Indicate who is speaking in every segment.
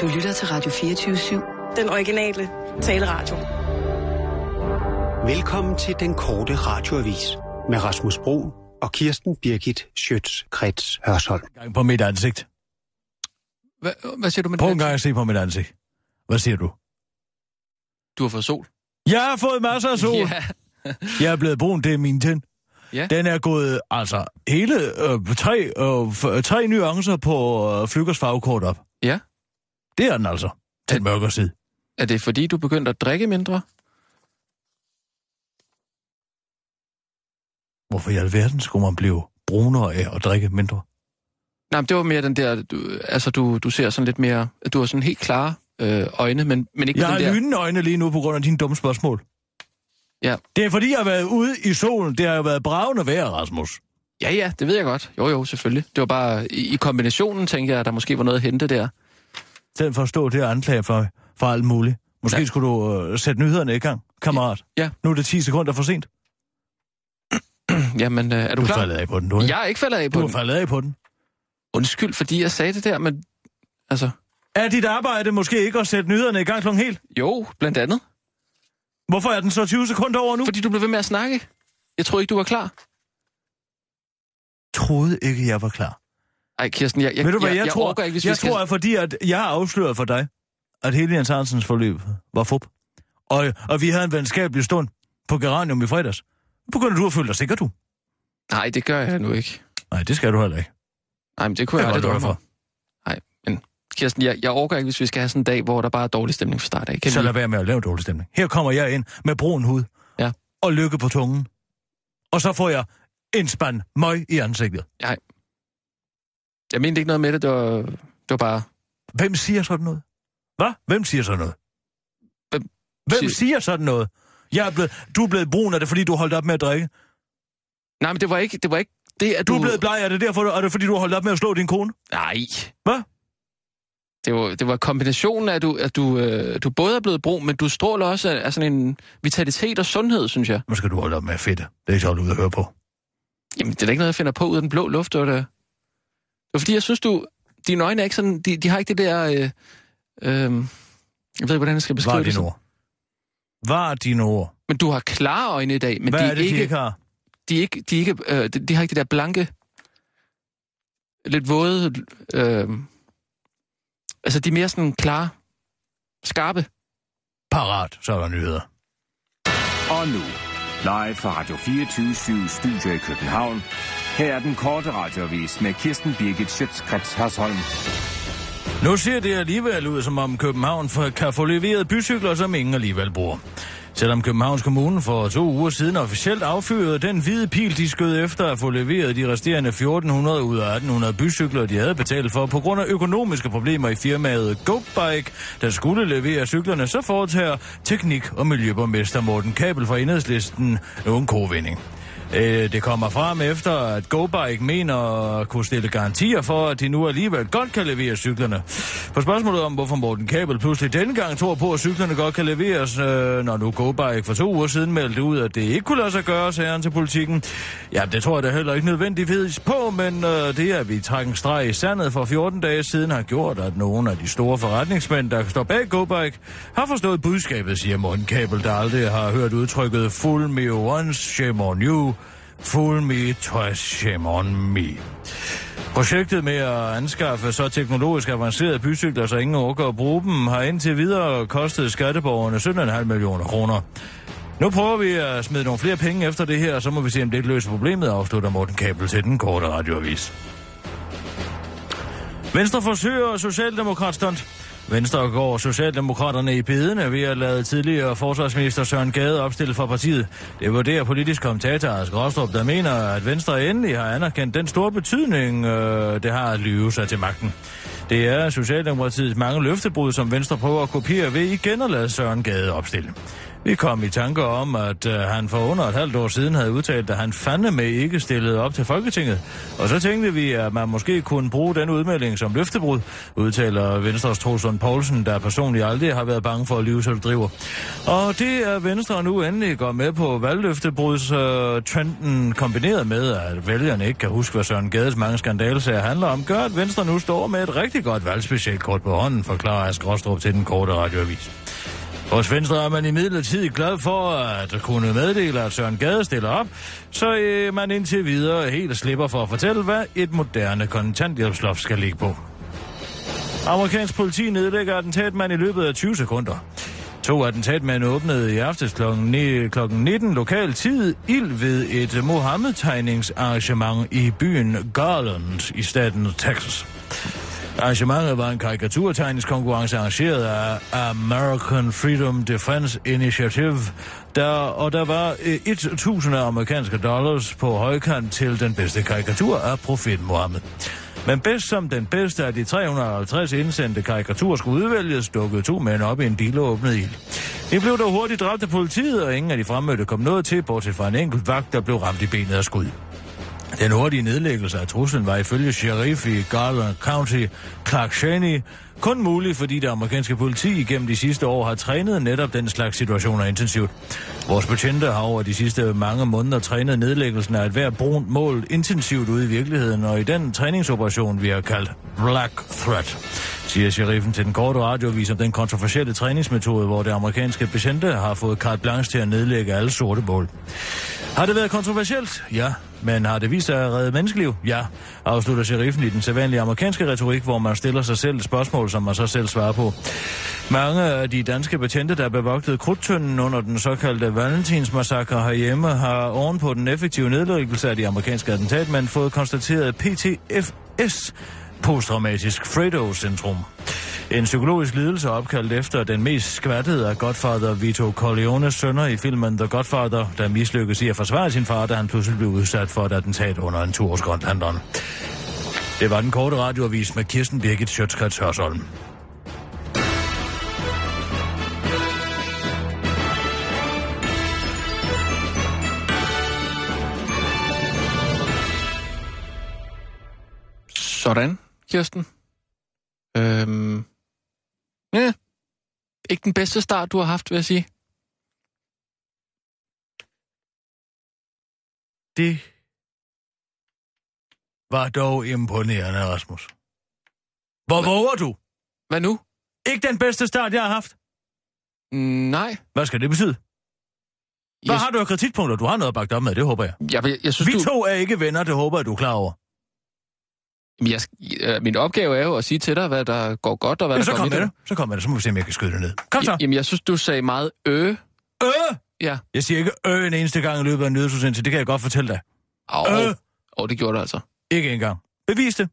Speaker 1: Du lytter til Radio 24-7.
Speaker 2: Den originale taleradio.
Speaker 3: Velkommen til den korte radioavis med Rasmus Bro og Kirsten Birgit Schøtz-Krets Hørsholm.
Speaker 4: Gang på mit ansigt.
Speaker 5: Hva, hvad siger du med
Speaker 4: Prøv en gang at se på mit ansigt. Hvad siger du?
Speaker 5: Du har fået sol.
Speaker 4: Jeg har fået masser af sol.
Speaker 5: Ja.
Speaker 4: Jeg er blevet brun, det er min tænd.
Speaker 5: Ja.
Speaker 4: Den er gået, altså, hele øh, tre, øh, f- tre nuancer på øh, Flygers farvekort op.
Speaker 5: Ja.
Speaker 4: Det er den altså, til den mørkere side.
Speaker 5: Er det fordi, du begyndte at drikke mindre?
Speaker 4: Hvorfor i alverden skulle man blive brunere af at drikke mindre?
Speaker 5: Nej, men det var mere den der, du, altså du, du ser sådan lidt mere, du har sådan helt klare øh, øjne, men, men ikke
Speaker 4: Jeg
Speaker 5: med
Speaker 4: har
Speaker 5: den der.
Speaker 4: lynende øjne lige nu på grund af dine dumme spørgsmål.
Speaker 5: Ja.
Speaker 4: Det er fordi, jeg har været ude i solen. Det har jo været bravende vejr, Rasmus.
Speaker 5: Ja, ja, det ved jeg godt. Jo, jo, selvfølgelig. Det var bare i, i kombinationen, tænker jeg, at der måske var noget at hente der.
Speaker 4: Selv for at stå det og anklage for, for alt muligt. Måske
Speaker 5: Ja.
Speaker 4: ja. skulle du øh, sætte nyhederne i gang, kammerat.
Speaker 5: Ja.
Speaker 4: Nu er det 10 sekunder for sent.
Speaker 5: Jamen, øh, er du,
Speaker 4: Mm. Du
Speaker 5: klar?
Speaker 4: faldet af på den, du. ikke?
Speaker 5: Jeg er ikke faldet af på
Speaker 4: Du er
Speaker 5: den.
Speaker 4: faldet af på den.
Speaker 5: Undskyld, fordi jeg sagde det der, men altså,
Speaker 4: Er dit arbejde måske ikke at sætte nyhederne i gang klokken helt?
Speaker 5: jo, blandt andet.
Speaker 4: Hvorfor er den så 20 sekunder over nu?
Speaker 5: Fordi du blev ved med at snakke. Jeg troede ikke, du var klar.
Speaker 4: troede ikke, jeg var klar.
Speaker 5: Ej, Kirsten, jeg, jeg,
Speaker 4: Ved du, hvad
Speaker 5: jeg,
Speaker 4: jeg,
Speaker 5: jeg
Speaker 4: tror?
Speaker 5: orker ikke, hvis
Speaker 4: jeg
Speaker 5: vi skal...
Speaker 4: tror, at fordi at jeg har afsløret for dig, at hele Jens Hansens forløb var fup. Og, og vi havde en venskabelig stund på Geranium i fredags. Nu begynder du at føle dig sikker, du.
Speaker 5: Nej, det gør jeg nu ikke.
Speaker 4: Nej, det skal du heller ikke.
Speaker 5: Nej, men det kunne jeg,
Speaker 4: Det
Speaker 5: aldrig
Speaker 4: holder
Speaker 5: drømme
Speaker 4: du
Speaker 5: om. Nej, men Kirsten, jeg, jeg orker ikke, hvis vi skal have sådan en dag, hvor der bare er dårlig stemning fra start af. Kan
Speaker 4: Så
Speaker 5: vi...
Speaker 4: lad være med at lave dårlig stemning. Her kommer jeg ind med brun hud
Speaker 5: Ja.
Speaker 4: og lykke på tungen. Og så får jeg en spand møg i ansigtet.
Speaker 5: Jeg mente ikke noget med det, det var, det var bare...
Speaker 4: Hvem siger sådan noget? Hvad? Hvem siger sådan noget?
Speaker 5: Hvem
Speaker 4: Hvem
Speaker 5: siger-
Speaker 4: siger sådan noget? Jeg er blevet, du er blevet brun af det, fordi du holdt op med at drikke.
Speaker 5: Nej, men det var ikke det, var ikke det at
Speaker 4: Du
Speaker 5: du...
Speaker 4: er blevet bleg af det, derfor er det, fordi du holdt op med at slå din kone.
Speaker 5: Nej.
Speaker 4: Hvad?
Speaker 5: Det var, det var kombinationen af, at du, at du, øh, du både er blevet brun, men du stråler også af, af sådan en vitalitet og sundhed, synes jeg.
Speaker 4: Nu skal du holde op med at fedte. Det er ikke så ud at høre på.
Speaker 5: Jamen, det er da ikke noget, jeg finder på ud af den blå luft. Det var, da... det var fordi, jeg synes, du... Dine øjne er ikke sådan... De, de har ikke det der... Øh, øh, jeg ved ikke, hvordan jeg skal beskrive
Speaker 4: Var
Speaker 5: det.
Speaker 4: dine
Speaker 5: sådan.
Speaker 4: ord. Var dine ord.
Speaker 5: Men du har klare øjne i dag, men
Speaker 4: Hvad
Speaker 5: de,
Speaker 4: er det,
Speaker 5: ikke,
Speaker 4: de ikke har?
Speaker 5: de, er ikke, de, er ikke, øh, de, de har ikke det der blanke, lidt våde... Øh, altså, de er mere sådan klare, skarpe.
Speaker 4: Parat, så er der nyheder.
Speaker 6: Og nu, live fra Radio 24 Studio i København. Her er den korte radiovis med Kirsten Birgit Schøtzgrads Hasholm.
Speaker 4: Nu ser det alligevel ud, som om København for- kan få leveret bycykler, som ingen alligevel bruger. Selvom Københavns Kommune for to uger siden officielt affyrede den hvide pil, de skød efter at få leveret de resterende 1400 ud af 1800 bycykler, de havde betalt for, på grund af økonomiske problemer i firmaet GoBike, der skulle levere cyklerne, så foretager teknik- og miljøborgmester Morten Kabel fra Enhedslisten nu en kovending. Øh, Det kommer frem efter, at GoBike mener at kunne stille garantier for, at de nu alligevel godt kan levere cyklerne. På spørgsmålet om, hvorfor Morten Kabel pludselig denne gang tror på, at cyklerne godt kan leveres, øh, når nu GoBike for to uger siden meldte ud, at det ikke kunne lade sig gøre, sagde han til politikken. Ja, det tror jeg da heller ikke nødvendigvis på, men øh, det, at vi trak en streg i sandet for 14 dage siden, har gjort, at nogle af de store forretningsmænd, der står bag GoBike, har forstået budskabet, siger Morten Kabel, der aldrig har hørt udtrykket Full me once, shame on you. Full me twice, shame on me. Projektet med at anskaffe så teknologisk avancerede bycykler, så ingen orker at bruge dem, har indtil videre kostet skatteborgerne 17,5 millioner kroner. Nu prøver vi at smide nogle flere penge efter det her, og så må vi se, om det ikke løser problemet, afslutter Morten Kabel til den korte radioavis. Venstre forsøger Socialdemokratstunt. Venstre går Socialdemokraterne i bedene ved at lade tidligere forsvarsminister Søren Gade opstille for partiet. Det vurderer politisk kommentator Ask Rostrup, der mener, at Venstre endelig har anerkendt den store betydning, øh, det har at lyve sig til magten. Det er Socialdemokratiets mange løftebrud, som Venstre prøver at kopiere ved igen at lade Søren Gade opstille. Vi kom i tanker om, at øh, han for under et halvt år siden havde udtalt, at han fandeme ikke stillede op til Folketinget. Og så tænkte vi, at man måske kunne bruge den udmelding som løftebrud, udtaler Venstres Trosund Poulsen, der personligt aldrig har været bange for at lyve, så det driver. Og det er Venstre nu endelig går med på valgløftebrudstrenden øh, kombineret med, at vælgerne ikke kan huske, hvad Søren Gades mange skandalesager handler om, gør, at Venstre nu står med et rigtig rigtig godt valgspecialkort på hånden, forklarer Ask Rostrup til den korte radioavis. Hos Venstre er man imidlertid glad for at kunne meddele, at Søren Gade stiller op, så øh, man indtil videre helt slipper for at fortælle, hvad et moderne kontanthjælpsloft skal ligge på. Amerikansk politi nedlægger attentatmand i løbet af 20 sekunder. To attentatmænd åbnede i aftes kl. ni- kl. 19 lokal tid ild ved et Mohammed-tegningsarrangement i byen Garland i staten Texas. Arrangementet var en karikaturtegningskonkurrence arrangeret af American Freedom Defense Initiative, der, og der var øh, 1.000 amerikanske dollars på højkant til den bedste karikatur af profeten Mohammed. Men bedst som den bedste af de 350 indsendte karikaturer skulle udvælges, dukkede to mænd op i en bil og åbnede ild. De blev dog hurtigt dræbt af politiet, og ingen af de fremmødte kom noget til, bortset fra en enkelt vagt, der blev ramt i benet af skud. Den hurtige nedlæggelse af truslen var ifølge sheriff i Garland County, Clark Shaney, kun mulig, fordi det amerikanske politi gennem de sidste år har trænet netop den slags situationer intensivt. Vores betjente har over de sidste mange måneder trænet nedlæggelsen af et hver brunt mål intensivt ude i virkeligheden, og i den træningsoperation, vi har kaldt Black Threat, siger sheriffen til den korte radiovis om den kontroversielle træningsmetode, hvor det amerikanske betjente har fået carte blanche til at nedlægge alle sorte mål. Har det været kontroversielt? Ja. Men har det vist sig at redde menneskeliv? Ja. Afslutter sheriffen i den sædvanlige amerikanske retorik, hvor man stiller sig selv et spørgsmål, som man så selv svarer på. Mange af de danske betjente, der bevogtede krudtønden under den såkaldte Valentinsmassakre herhjemme, har ovenpå den effektive nedlæggelse af de amerikanske attentatmænd fået konstateret PTFS, posttraumatisk Fredo-syndrom. En psykologisk lidelse opkaldt efter den mest skvattede af Godfather Vito Corleones sønner i filmen The Godfather, der mislykkedes i at forsvare sin far, da han pludselig blev udsat for et attentat under en tur hos Grønlanderen. Det var den korte radioavis med Kirsten Birgit Sjøtskrets Hørsholm.
Speaker 5: Sådan, Kirsten. Øhm. Ja. Ikke den bedste start, du har haft, vil jeg sige.
Speaker 4: Det var dog imponerende, Rasmus. Hvor våger du?
Speaker 5: Hvad nu?
Speaker 4: Ikke den bedste start, jeg har haft.
Speaker 5: Mm, Nej.
Speaker 4: Hvad skal det betyde? Hvad
Speaker 5: Jeg,
Speaker 4: har du af kritikpunkter? Du har noget bagt op med, det håber jeg.
Speaker 5: jeg, jeg, jeg synes,
Speaker 4: Vi
Speaker 5: du...
Speaker 4: to er ikke venner, det håber jeg, du er klar over.
Speaker 5: Jamen, Jeg, øh, min opgave er jo at sige til dig, hvad der går godt og hvad
Speaker 4: Ja,
Speaker 5: der
Speaker 4: så
Speaker 5: går
Speaker 4: kom med
Speaker 5: mindre.
Speaker 4: det. Så kom med det, så må vi se, om jeg kan skyde det ned. Kom så.
Speaker 5: Ja, Jamen, jeg synes, du sagde meget øh.
Speaker 4: Øh!
Speaker 5: Ja.
Speaker 4: Jeg siger ikke øh en eneste gang i løbet af en nyhedsudsendelsen. Det kan jeg godt fortælle dig.
Speaker 5: Au.
Speaker 4: Øh.
Speaker 5: Øh. Og det gjorde du altså.
Speaker 4: Ikke engang. Bevis det.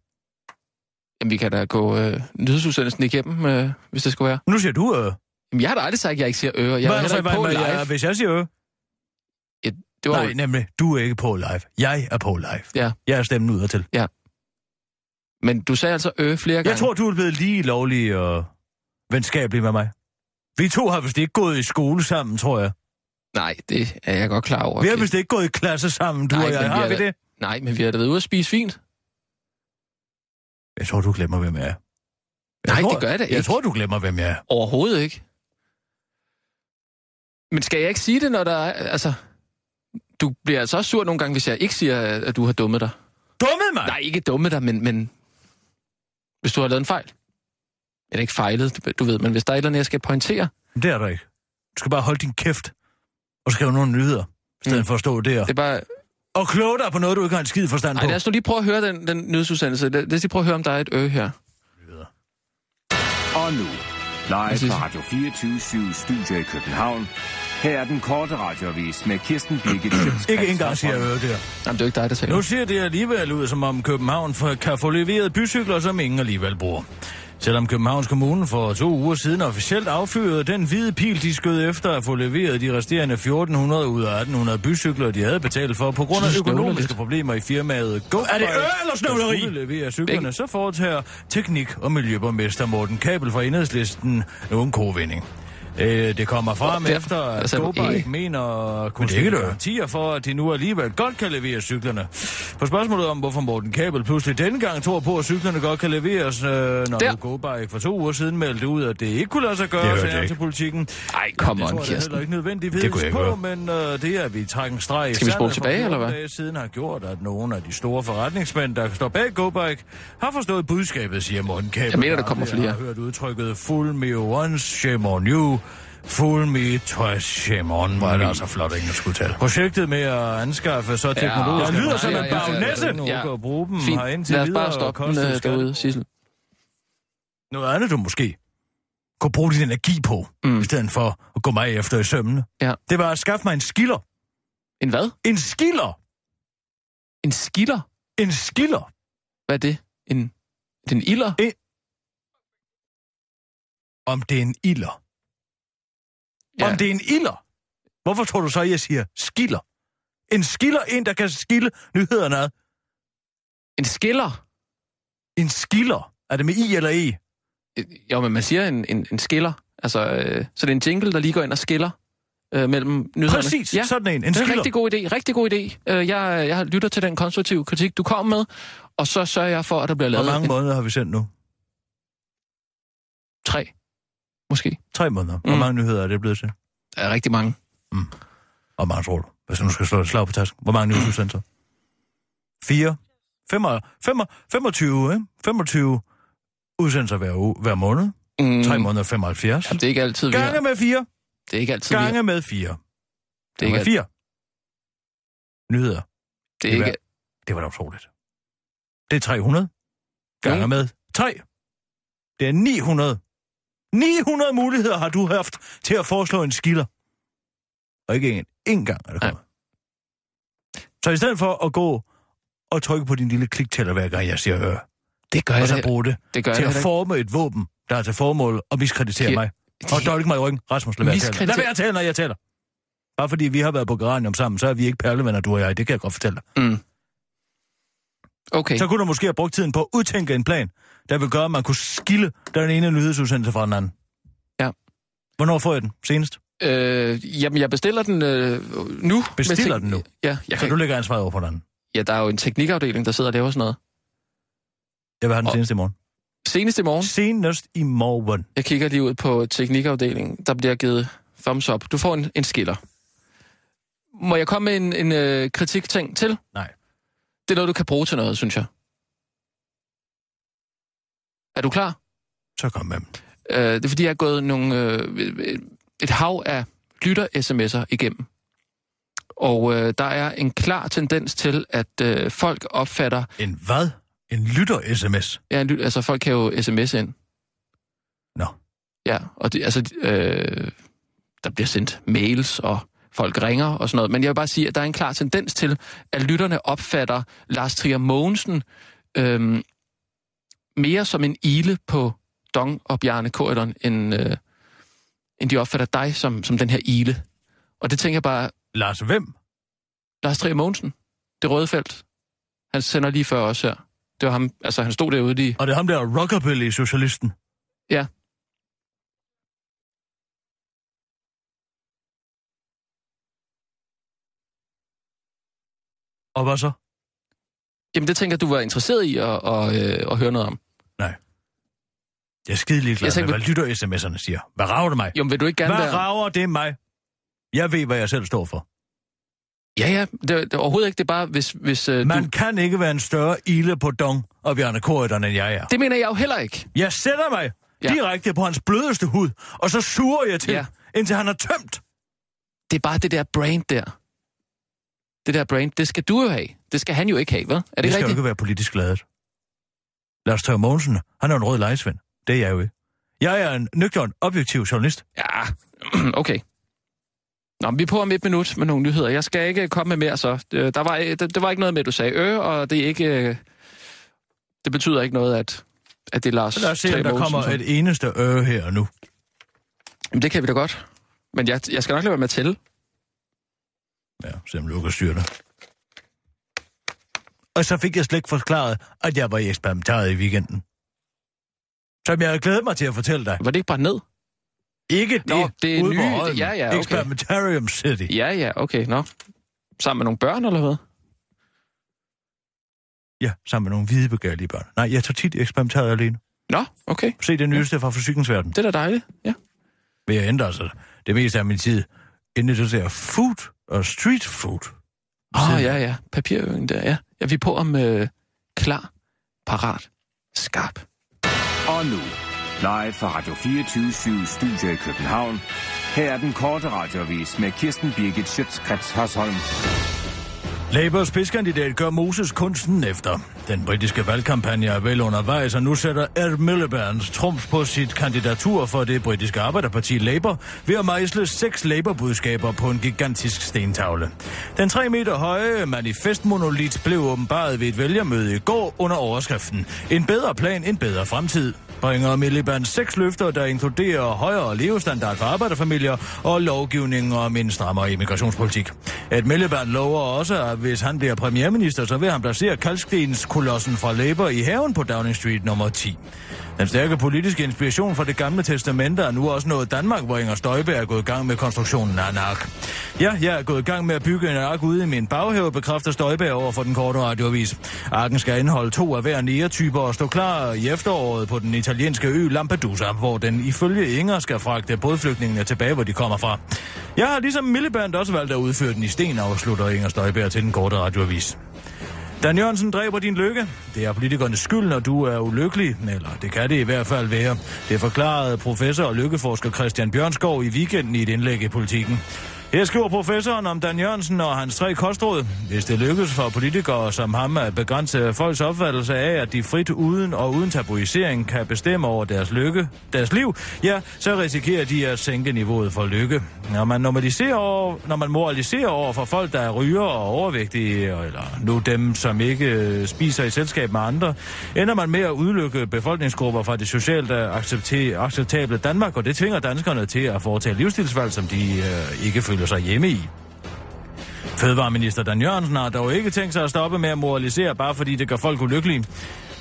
Speaker 5: Jamen, vi kan da gå øh, nyhedsudsendelsen igennem, øh, hvis det skulle være.
Speaker 4: Nu siger du øh.
Speaker 5: Jamen, jeg har da aldrig sagt, at jeg ikke siger øh. og Jeg er
Speaker 4: Hvad-
Speaker 5: heller ikke
Speaker 4: hvad-
Speaker 5: på
Speaker 4: hvad-
Speaker 5: live.
Speaker 4: ja, Hvis jeg siger øh.
Speaker 5: Ja, det var
Speaker 4: Nej,
Speaker 5: jo-
Speaker 4: nemlig. Du er ikke på live. Jeg er på live.
Speaker 5: Ja.
Speaker 4: Jeg er stemmen ud til.
Speaker 5: Men du sagde altså øh flere gange.
Speaker 4: Jeg tror, du er blevet lige lovlig og venskabelig med mig. Vi to har vist ikke gået i skole sammen, tror jeg.
Speaker 5: Nej, det er jeg godt klar over.
Speaker 4: Okay. Vi har
Speaker 5: Kirsten.
Speaker 4: vist ikke gået i klasse sammen, du
Speaker 5: Nej,
Speaker 4: og jeg.
Speaker 5: men vi
Speaker 4: Har
Speaker 5: er
Speaker 4: vi
Speaker 5: da-
Speaker 4: det?
Speaker 5: Nej, men vi har da været ude at spise fint.
Speaker 4: Jeg tror, du glemmer, hvem jeg er. Jeg
Speaker 5: Nej,
Speaker 4: tror,
Speaker 5: det gør jeg da
Speaker 4: Jeg
Speaker 5: ikke.
Speaker 4: tror, du glemmer, hvem jeg er.
Speaker 5: Overhovedet ikke. Men skal jeg ikke sige det, når der er... Altså, du bliver altså også sur nogle gange, hvis jeg ikke siger, at du har dummet dig.
Speaker 4: Dumme mig!
Speaker 5: Nej, ikke dummet dig, men, men... Hvis du har lavet en fejl. Eller ikke fejlet, du- du ved, men hvis der er et eller andet, jeg skal pointere.
Speaker 4: Det er der ikke. Du skal bare holde din kæft og skrive nogle nyheder, i stedet
Speaker 5: Mm.
Speaker 4: for at stå der.
Speaker 5: Det er bare...
Speaker 4: Og kloge dig på noget, du ikke har en skid forstand
Speaker 5: Nej,
Speaker 4: på.
Speaker 5: lad os nu lige prøve at høre den, den nyhedsudsendelse. Lad lad os lige prøve at høre, om der er et ø her.
Speaker 6: Og nu,
Speaker 5: Jeg
Speaker 6: live
Speaker 5: synes-
Speaker 6: fra Radio 24 Studio i København. Her er den korte radiovis med Kirsten Birgit Schøtz-Krets
Speaker 4: Ikke engang siger jeg
Speaker 6: Hørsholm.
Speaker 4: øh der.
Speaker 5: Jamen, det er jo ikke dig, der taler.
Speaker 4: Nu ser det alligevel ud, som om København for- kan få leveret bycykler, som ingen alligevel bruger. Selvom Københavns Kommune for to uger siden officielt affyrede den hvide pil, de skød efter at få leveret de resterende 1400 ud af 1800 bycykler, de havde betalt for på grund af
Speaker 5: Du snøvler
Speaker 4: økonomiske
Speaker 5: lidt.
Speaker 4: problemer i firmaet Go. Er det øl eller snøvleri? Der skulle levere cyklerne, så foretager teknik- og miljøborgmester Morten Kabel fra Enhedslisten nogen kovending. Øh, det kommer frem
Speaker 5: Der-
Speaker 4: efter,
Speaker 5: der
Speaker 4: at
Speaker 5: sagde du
Speaker 4: Skobach
Speaker 5: ikke.
Speaker 4: mener at kunne stille garantier for, at de nu alligevel godt kan levere cyklerne. På spørgsmålet om, hvorfor Morten Kabel pludselig denne gang tror på, at cyklerne godt kan leveres, øh, når
Speaker 5: Der.
Speaker 4: nu Skobach for to uger siden meldte ud, at det ikke kunne lade sig
Speaker 7: Det
Speaker 4: gøre,
Speaker 7: hørte
Speaker 4: sagde
Speaker 7: jeg
Speaker 4: han
Speaker 7: ikke.
Speaker 4: til politikken.
Speaker 5: Ej, come
Speaker 4: Det
Speaker 5: on,
Speaker 4: tror jeg da heller
Speaker 5: Kirsten.
Speaker 4: ikke nødvendigvis
Speaker 7: Det kunne jeg ikke
Speaker 4: på,
Speaker 7: høre.
Speaker 4: men øh, det er, at vi trækker en streg i
Speaker 5: Skal vi spole
Speaker 4: sandet for
Speaker 5: tilbage,
Speaker 4: 14
Speaker 5: eller hvad?
Speaker 4: dage siden har gjort, at nogle af de store forretningsmænd, der står bag GoBike, har forstået budskabet, siger Morten Kabel.
Speaker 5: Jeg mener, der kommer flere.
Speaker 4: Jeg har hørt udtrykket, full me once, shame on you. Full me twice, shame on. Var det altså flot engelsk udtale. Projektet med at anskaffe så teknologisk...
Speaker 5: Mm. ja,
Speaker 4: lyder som
Speaker 5: ja,
Speaker 4: en
Speaker 5: ja, ja, ja.
Speaker 4: bagnæsse. Nu
Speaker 5: Ja.
Speaker 4: kan at bruge dem har
Speaker 5: Fint,
Speaker 4: indtil
Speaker 5: lad os
Speaker 4: videre
Speaker 5: bare stoppe den
Speaker 4: kostet
Speaker 5: øh,
Speaker 4: skat-
Speaker 5: derude, Sissel.
Speaker 4: Noget andet, du måske kunne bruge din energi på,
Speaker 5: Mm.
Speaker 4: mm. i stedet for at gå mig efter i sømmene.
Speaker 5: Ja.
Speaker 4: Det var at skaffe mig en skiller.
Speaker 5: En hvad?
Speaker 4: En skiller!
Speaker 5: En skiller?
Speaker 4: En skiller!
Speaker 5: Hvad er det? En, det er en ilder?
Speaker 4: Om det er en iller. Ja.
Speaker 5: Ja.
Speaker 4: Om det er en iller. Hvorfor tror du så, jeg siger skiller? En skiller, en der kan skille nyhederne ad.
Speaker 5: En skiller?
Speaker 4: En skiller. Er det med i eller e?
Speaker 5: Øh, Jo, men man siger en, en, en skiller. Altså, øh, så det er en jingle, der lige går ind og skiller øh, mellem nyhederne.
Speaker 4: Præcis,
Speaker 5: Ja.
Speaker 4: sådan en. En
Speaker 5: Det er en
Speaker 4: skiller.
Speaker 5: rigtig god idé, rigtig god idé. Øh, Jeg, jeg lytter til den konstruktive kritik, du kom med, og så sørger jeg for, at der bliver lavet
Speaker 4: Hvor mange
Speaker 5: en,
Speaker 4: måneder har vi sendt nu?
Speaker 5: tre, måske.
Speaker 4: Tre måneder. Hvor
Speaker 5: Mm.
Speaker 4: mange nyheder er det blevet til?
Speaker 5: Der er rigtig mange.
Speaker 4: Hvor mange tror du? Hvis du nu skal slå et slag på tasken. Hvor mange nyhedsudsendelser? Fire? Fem, fem, 25, ikke? 25 udsendelser hver, uge, hver måned.
Speaker 5: Mm,
Speaker 4: Tre måneder 75.
Speaker 5: Jamen, det er ikke altid, vi
Speaker 4: Gange
Speaker 5: har,
Speaker 4: med fire.
Speaker 5: det er ikke altid, vi har,
Speaker 4: Gange med fire.
Speaker 5: det er ikke,
Speaker 4: Nummer
Speaker 5: al-
Speaker 4: fire. Nyheder.
Speaker 5: det er ikke,
Speaker 4: Det var da utroligt. Det er 300. Gange
Speaker 5: Mm.
Speaker 4: med 3. Det er 900. 900 muligheder har du haft til at foreslå en skiller. Og ikke en. En gang er det
Speaker 5: Nej.
Speaker 4: kommet. Så i stedet for at gå og trykke på din lille kliktæller, hver gang jeg siger hør,
Speaker 5: det gør jeg
Speaker 4: og så
Speaker 5: da,
Speaker 4: bruge det
Speaker 5: det gør jeg
Speaker 4: til
Speaker 5: da
Speaker 4: at
Speaker 5: heller
Speaker 4: forme et våben, der er til formål at miskreditere
Speaker 5: Ki-
Speaker 4: mig. Og
Speaker 5: ikke.
Speaker 4: dolke mig i ryggen. Rasmus, lad være at tale.
Speaker 5: Miskreditere-
Speaker 4: Lad være at tale, når jeg taler. Bare fordi vi har været på Geranium sammen, så er vi ikke perlevenner, du og jeg. Det kan jeg godt fortælle dig.
Speaker 5: Mm. Okay,
Speaker 4: Så kunne du måske have brugt tiden på at udtænke en plan, der vil gøre, at man kunne skille den ene nyhedsudsendelse fra den anden.
Speaker 5: Ja.
Speaker 4: Hvornår får jeg den? Senest?
Speaker 5: øh, jamen jeg bestiller den øh, nu.
Speaker 4: Bestiller
Speaker 5: Hvis-
Speaker 4: den nu?
Speaker 5: Ja, jeg
Speaker 4: Så
Speaker 5: kan,
Speaker 4: du lægger ansvaret over på den anden.
Speaker 5: ja, der er jo en teknikafdeling, der sidder og laver sådan noget.
Speaker 4: Jeg vil have den
Speaker 5: Og-
Speaker 4: senest i morgen.
Speaker 5: Senest i morgen,
Speaker 4: Senest i morgen.
Speaker 5: jeg kigger lige ud på teknikafdelingen, der bliver givet thumbs up. Du får en, en skiller. Må jeg komme med en, en øh, kritik-ting til?
Speaker 4: Nej.
Speaker 5: Det er noget, du kan bruge til noget, synes jeg. Er du klar?
Speaker 4: Så kom med dem.
Speaker 5: Øh, det er fordi, jeg er gået nogle, øh, et hav af lytter-sms'er igennem. Og øh, der er en klar tendens til, at øh, folk opfatter...
Speaker 4: En hvad? En lytter-sms?
Speaker 5: Ja, en lyt, altså, folk kan jo sms ind.
Speaker 4: Nå.
Speaker 5: Ja, og det, altså, øh, der bliver sendt mails, og folk ringer og sådan noget. Men jeg vil bare sige, at der er en klar tendens til, at lytterne opfatter Lars Trier Mogensen øh, mere som en ile på Dong og Bjarne Korydon, end, øh, end de opfatter dig som, som den her ile. Og det tænker jeg bare,
Speaker 4: Lars hvem?
Speaker 5: Lars Trier Mogensen, det røde felt, han sender lige før os her. Det var ham, altså han stod derude lige.
Speaker 4: Og det er ham der rockabilly-socialisten.
Speaker 5: Ja.
Speaker 4: Og hvad så?
Speaker 5: Jamen det tænker jeg, du var interesseret i at, at, øh, at høre noget om.
Speaker 4: Jeg er skide ligeglad
Speaker 5: Jeg
Speaker 4: med,
Speaker 5: tænker-
Speaker 4: hvad lytter-sms'erne siger. Hvad rager det mig?
Speaker 5: Jo, men vil du ikke gerne
Speaker 4: Hvad
Speaker 5: være...
Speaker 4: rager det mig? Jeg ved, hvad jeg selv står for.
Speaker 5: Ja, ja, det, det er overhovedet ikke. Det er bare, hvis, hvis øh,
Speaker 4: Man
Speaker 5: du...
Speaker 4: kan ikke være en større ile på Dong og Bjarne Korydon, end jeg er.
Speaker 5: Det mener jeg jo heller ikke.
Speaker 4: Jeg sætter mig
Speaker 5: Ja.
Speaker 4: ja. direkte på hans blødeste hud, og så suger jeg til,
Speaker 5: Ja.
Speaker 4: ja. indtil han er tømt.
Speaker 5: Det er bare det der brand der. Det der brand, det skal du jo have. Det skal han jo ikke have, vel? Er det,
Speaker 4: det
Speaker 5: ikke
Speaker 4: skal jo
Speaker 5: rigtigt?
Speaker 4: ikke være politisk ladet. Lars Tørre Mogensen, han er jo en rød lejesvend. Det er jeg jo ikke. Jeg er en nøgtern, objektiv journalist.
Speaker 5: Ja, okay. Nå, men vi er på om et minut med nogle nyheder. Jeg skal ikke komme med mere så. Øh, Der var, øh, der, der var ikke noget med, at du sagde øh, og det er ikke... Øh, det betyder ikke noget, at, at det er Lars
Speaker 4: Så lad os se,
Speaker 5: Trier
Speaker 4: om der
Speaker 5: Mogensen,
Speaker 4: kommer
Speaker 5: som-
Speaker 4: et eneste øh her og nu.
Speaker 5: Jamen, det kan vi da godt. Men jeg, jeg skal nok lade være med at tælle.
Speaker 4: Ja, selvom Lukas styrer det. Og så fik jeg slet ikke forklaret, at jeg var i eksperimentariet i weekenden. Som jeg havde glædet mig til at fortælle dig.
Speaker 5: Var det ikke bare ned?
Speaker 4: Ikke
Speaker 5: Nå,
Speaker 4: det,
Speaker 5: det er
Speaker 4: ude på
Speaker 5: nye-
Speaker 4: Holmen.
Speaker 5: ja, ja, okay.
Speaker 4: Experimentarium City.
Speaker 5: Ja, ja, okay, nå. Sammen med nogle børn, eller hvad?
Speaker 4: Ja, sammen med nogle hvide begærlige børn. Nej, jeg tager tit eksperimentariet alene.
Speaker 5: Nå, okay.
Speaker 4: Se det nyeste fra fysikkens verden.
Speaker 5: Det er da dejligt, ja.
Speaker 4: Vil jeg ændre sig det meste af min tid. Inden det der food og street food.
Speaker 5: Åh, oh,
Speaker 4: Siden.
Speaker 5: ja, ja. Papirøen der, ja. Ja, vi er på om øh, klar, parat, skarp.
Speaker 6: Og nu, live fra Radio 24 Studio i København. Her er den korte radiovis med Kirsten Birgit Schøtzgrads Hasholm.
Speaker 4: Labours spidskandidat gør Moses kunsten efter. Den britiske valgkampagne er vel undervejs, og nu sætter Ed Miliband trumf på sit kandidatur for det britiske arbejderparti Labour ved at mejsle seks Labour-budskaber på en gigantisk stentavle. Den 3 meter høje manifestmonolit blev åbenbaret ved et vælgermøde i går under overskriften En bedre plan, en bedre fremtid bringer Miliband seks løfter, der inkluderer højere levestandard for arbejderfamilier og lovgivning om en strammere immigrationspolitik. At Miliband lover også, at hvis han bliver premierminister, så vil han placere kalkstenskolossen fra Labour i haven på Downing Street nummer 10. Den stærke politiske inspiration fra det gamle testamente er nu også nået Danmark, hvor Inger Støjberg er gået i gang med konstruktionen af en ark. Ja, jeg er gået i gang med at bygge en ark ude i min baghave, bekræfter Støjberg over for den korte radioavis. Arken skal indeholde to af hver næretyper og stå klar i efteråret på den italienske ø Lampedusa, hvor den ifølge Inger skal fragte bådflygtningene tilbage, hvor de kommer fra. Jeg har ligesom Milleband også valgt at udføre den i sten, afslutter Inger Støjberg til den korte radioavis. Dan Jørgensen dræber din lykke. Det er politikernes skyld, når du er ulykkelig, eller det kan det i hvert fald være. Det forklarede professor og lykkeforsker Christian Bjørnskov i weekenden i et indlæg i politikken. Her skriver professoren om Dan Jørgensen og hans tre kostråd. Hvis det lykkes for politikere som ham at begrænse folks opfattelse af, at de frit uden og uden tabuisering kan bestemme over deres lykke, deres liv, ja, så risikerer de at sænke niveauet for lykke. Når man, normaliserer over, når man moraliserer over for folk, der er ryger og overvægtige, eller nu dem, som ikke øh, spiser i selskab med andre, ender man med at udelukke befolkningsgrupper fra det socialt øh, accepte- acceptable Danmark, og det tvinger danskerne til at foretage livsstilsvalg, som de øh, ikke føler sig hjemme i. Fødevareminister Dan Jørgensen har dog ikke tænkt sig at stoppe med at moralisere, bare fordi det gør folk ulykkelige.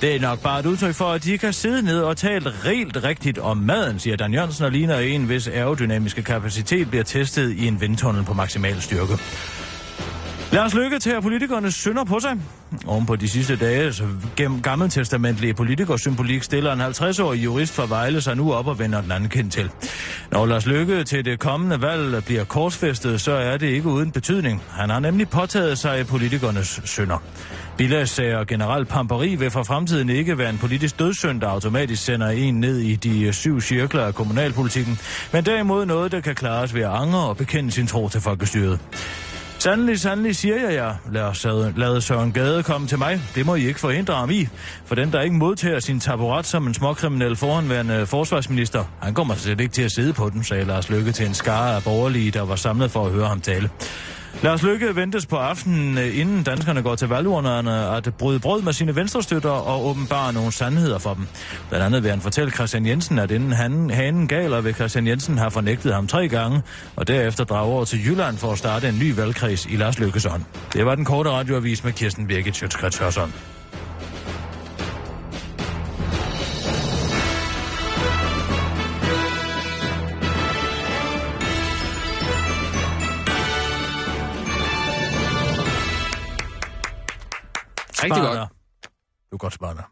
Speaker 4: Det er nok bare et udtryk for, at de kan sidde ned og tale rent rigtigt om maden, siger Dan Jørgensen og ligner en, hvis aerodynamiske kapacitet bliver testet i en vindtunnel på maksimal styrke. Lars Lykke tager politikernes synder på sig. Oven på de sidste dages gennem gammeltestamentlige politikersymbolik stiller en 50-årig jurist fra Vejle sig nu op og vender den anden kind til. Når Lars Lykke til det kommende valg bliver korsfæstet, så er det ikke uden betydning. Han har nemlig påtaget sig politikernes synder. Bilagssager og generelt pamperi vil for fremtiden ikke være en politisk dødssynd, der automatisk sender en ned i de syv cirkler af kommunalpolitikken, men derimod noget, der kan klares ved at angre og bekende sin tro til folkestyret. Sandelig, sandelig siger jeg jer. Lad, os, lad Søren Gade komme til mig. Det må I ikke forhindre ham i. For den, der ikke modtager sin taburet som en småkriminel foranværende forsvarsminister, han kommer slet ikke til at sidde på den, sagde Lars Lykke til en skare af borgerlige, der var samlet for at høre ham tale. Lars Lykke ventes på aftenen, øh, inden danskerne går til valgurnerne, at bryde brød med sine venstrestøtter og åbenbare nogle sandheder for dem. Blandt andet vil han fortælle Christian Jensen, at inden han, hanen galer ved Christian Jensen har fornægtet ham tre gange, og derefter drage over til Jylland for at starte en ny valgkreds i Lars Lykkes ånd. Det var den korte radioavis med Kirsten Birgit Sjøtskrets Hørsson.
Speaker 5: Rigtig godt.
Speaker 4: Du er godt sparende.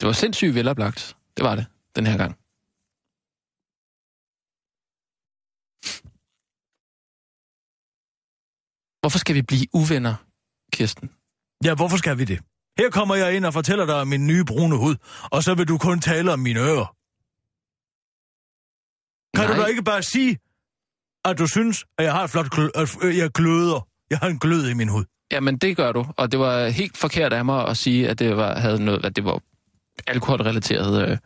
Speaker 5: Det var sindssygt veloplagt. Det var det, den her gang. Hvorfor skal vi blive uvenner, Kirsten?
Speaker 4: Ja, hvorfor skal vi det? Her kommer jeg ind og fortæller dig om min nye brune hud, og så vil du kun tale om mine ører. Kan Nej. du da ikke bare sige, at du synes, at jeg har et flot glø- at f- øh, jeg gløder. Jeg har en glød i min hud.
Speaker 5: Jamen, det gør du. Og det var helt forkert af mig at sige, at det var, havde noget, at det var alkoholrelateret. Øh.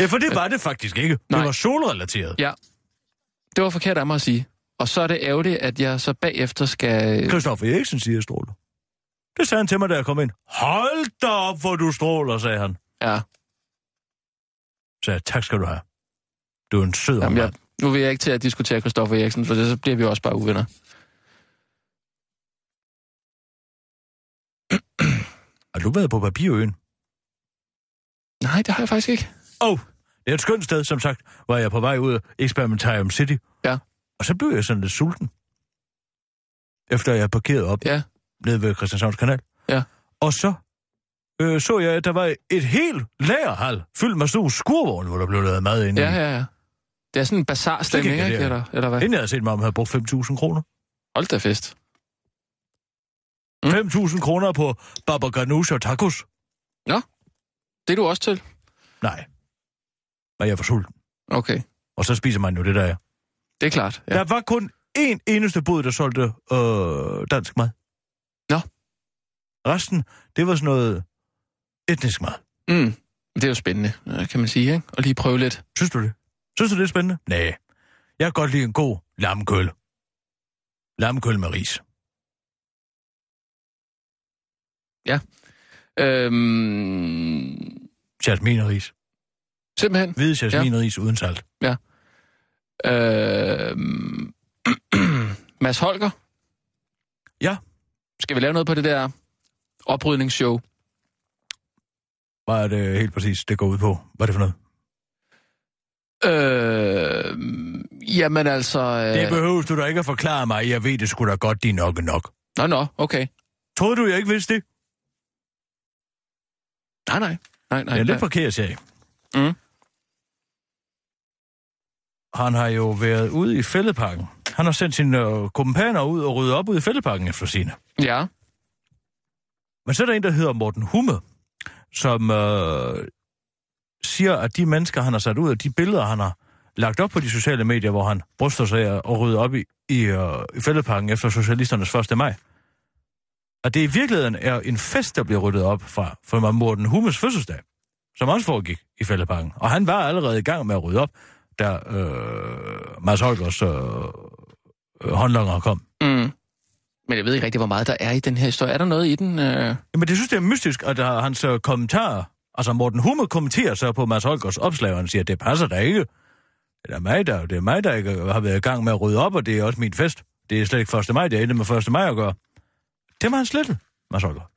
Speaker 4: Ja, for det var det faktisk ikke.
Speaker 5: Nej.
Speaker 4: Det var solrelateret.
Speaker 5: Ja, det var forkert af mig at sige. Og så er det ærgerligt, at jeg så bagefter skal...
Speaker 4: Christoffer Eriksen siger, jeg stråler. Det sagde han til mig, da jeg kom ind. Hold da op, hvor du stråler, sagde han.
Speaker 5: Ja,
Speaker 4: Så jeg, tak skal du have. Du er en sød
Speaker 5: jamen, jeg,
Speaker 4: mand.
Speaker 5: nu vil jeg ikke til at diskutere Christoffer Eriksen, for det, så bliver vi også bare uvenner.
Speaker 4: Har du været på papirøen?
Speaker 5: Nej, det har jeg faktisk ikke.
Speaker 4: Åh, oh, Det er et skønt sted, som sagt, var jeg på vej ud af Experimentarium City.
Speaker 5: Ja.
Speaker 4: Og så blev jeg sådan lidt sulten. Efter jeg parkerede op
Speaker 5: Ja.
Speaker 4: nede ved Christianshavns kanal.
Speaker 5: Ja.
Speaker 4: Og så øh, så jeg, at der var et helt lagerhal fyldt med stor skurvogn, hvor der blev lavet mad inde.
Speaker 5: Ja,
Speaker 4: i.
Speaker 5: ja, ja. Det er sådan en bazarstemning,
Speaker 4: Så gik jeg
Speaker 5: ikke?
Speaker 4: der.
Speaker 5: Eller, eller hvad?
Speaker 4: Inden jeg havde set mig, om jeg havde brugt 5.000 kroner.
Speaker 5: Hold da fest. Mm.
Speaker 4: Mm. 5.000 kroner på baba ganoush og tacos?
Speaker 5: Det er du også til.
Speaker 4: Nej. Men jeg var sulten.
Speaker 5: Okay,
Speaker 4: Og så spiser man jo det, der er.
Speaker 5: det er klart.
Speaker 4: Ja.
Speaker 5: Ja.
Speaker 4: Der var kun én eneste bod, der solgte øh, dansk mad.
Speaker 5: Nå.
Speaker 4: Resten, det var sådan noget etnisk mad.
Speaker 5: Mm. Det er jo spændende, øh, kan man sige, ikke? Og lige prøve lidt.
Speaker 4: Synes du det? Synes du, det er spændende? Nej. Jeg kan godt lide en god lammekøl. Lammekøl med ris.
Speaker 5: Øhm,
Speaker 4: Jasmin og ris.
Speaker 5: simpelthen.
Speaker 4: Hvide jasmin ja. og ris uden salt.
Speaker 5: Øhm, Mads Holger?
Speaker 4: Ja.
Speaker 5: Skal vi lave noget på det der oprydningsshow?
Speaker 4: Hvad er det helt præcis, det går ud på? Hvad er det for noget?
Speaker 5: Øh, jamen altså... Øh...
Speaker 4: Det behøver du da ikke at forklare mig. Jeg ved det sgu da godt, de er nok er nok.
Speaker 5: Nå, nå, okay.
Speaker 4: Troede du, jeg ikke vidste det?
Speaker 5: Nej, nej. Nej, nej.
Speaker 4: Det er
Speaker 5: nej.
Speaker 4: lidt forkert, sag.
Speaker 5: Mm.
Speaker 4: Han har jo været ude i fældeparken. Han har sendt sine øh, kompaner ud og ryddet op ude i fældeparken efter sine.
Speaker 5: Ja,
Speaker 4: Men så er der en, der hedder Morten Humme, som øh, siger, at de mennesker, han har sat ud, og de billeder, han har lagt op på de sociale medier, hvor han bryster sig af at rydde op i, i, øh, i fældeparken efter Socialisternes 1. maj. Og det i virkeligheden er en fest, der bliver ryddet op fra, for Morten Hummes fødselsdag, som også foregik i fældeparken. Og han var allerede i gang med at rydde op, da øh, Mads Holgers øh, øh, håndlanger kom.
Speaker 5: mm. Men jeg ved ikke rigtig, hvor meget der er i den her historie. Er der noget i den? Øh...
Speaker 4: Jamen, det synes jeg er mystisk, at der, hans øh, kommentarer... Altså, Morten Humme kommenterer så på Mads Holgers opslag, og han siger, det passer da ikke. Det er mig, der, det er mig, der ikke har været i gang med at rydde op, og det er også min fest. Det er slet ikke 1. maj, det er ikke med 1. maj at gøre. Det var han slettet, Mads Holger.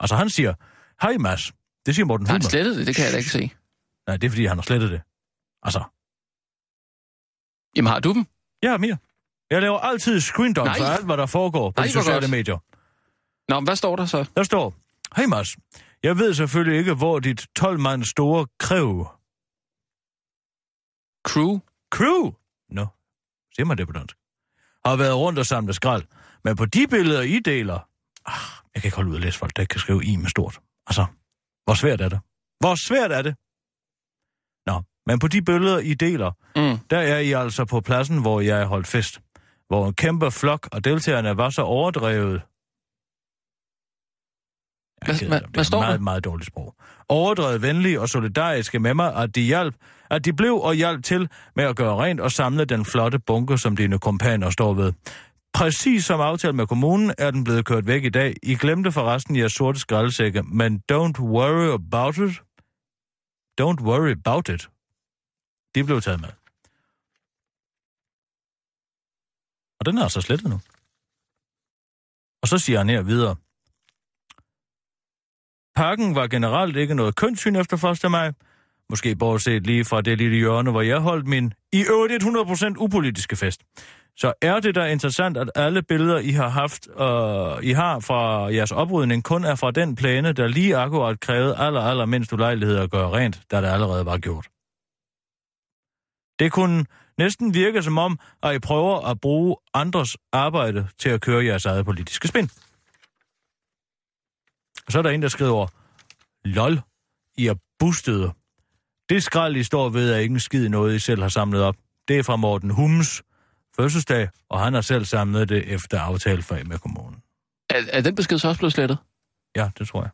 Speaker 4: Altså, han siger, hej Mads. Det siger Morten
Speaker 5: Har han
Speaker 4: Humme.
Speaker 5: slettet det? Det kan jeg da ikke se.
Speaker 4: Nej, det er, fordi han har slettet det. Altså,
Speaker 5: Jamen, har du dem?
Speaker 4: jeg er mere. Jeg laver altid screendom
Speaker 5: Nej.
Speaker 4: for alt, hvad der foregår på
Speaker 5: Nej,
Speaker 4: de
Speaker 5: hvor
Speaker 4: sociale
Speaker 5: godt.
Speaker 4: medier.
Speaker 5: Nå, men hvad står der så?
Speaker 4: Der står, Hej Mads, jeg ved selvfølgelig ikke, hvor dit 12 mand store krev
Speaker 5: Crew? Mm.
Speaker 4: crew, nå, siger man det på dansk, har været rundt og samlet skrald. Men på de billeder, I deler... Ah, jeg kan ikke holde ud at læse folk, der ikke kan skrive I med stort. Altså, hvor svært er det? Hvor svært er det? Nå, men på de billeder, I deler,
Speaker 5: Mm.
Speaker 4: der er I altså på pladsen, hvor jeg holdt fest. Hvor en kæmpe flok og deltagerne var så overdrevet. Jeg
Speaker 5: Hvad-
Speaker 4: gider
Speaker 5: hvad-
Speaker 4: dem. det
Speaker 5: hvad
Speaker 4: er
Speaker 5: står der?
Speaker 4: meget, meget dårligt sprog. Overdrevet venlige og solidariske med mig, at de hjalp, at de blev og hjalp til med at gøre rent og samle den flotte bunke, som dine kompaner står ved. Præcis som aftalt med kommunen er den blevet kørt væk i dag. I glemte forresten jeres sorte skraldesække, men don't worry about it. Don't worry about it. De blev taget med. Og den er altså slettet nu. Og så siger han her videre. Pakken var generelt ikke noget kønssyn efter 1. maj. Måske bortset lige fra det lille hjørne, hvor jeg holdt min i øvrigt 100% upolitiske fest. Så er det da interessant, at alle billeder, I har haft, øh, I har fra jeres oprydning, kun er fra den plæne, der lige akkurat krævede aller, aller mindst ulejlighed at gøre rent, da det allerede var gjort. Det kunne næsten virke som om, at I prøver at bruge andres arbejde til at køre jeres eget politiske spin. Og så er der en, der skriver, lol, I er bustede. Det skrald, I står ved, er ikke en skid noget, I selv har samlet op. Det er fra Morten Hummes fødselsdag, og han har selv samlet det efter aftale fra med kommunen.
Speaker 5: Er, er den besked så også blevet slettet?
Speaker 4: Ja, det tror jeg.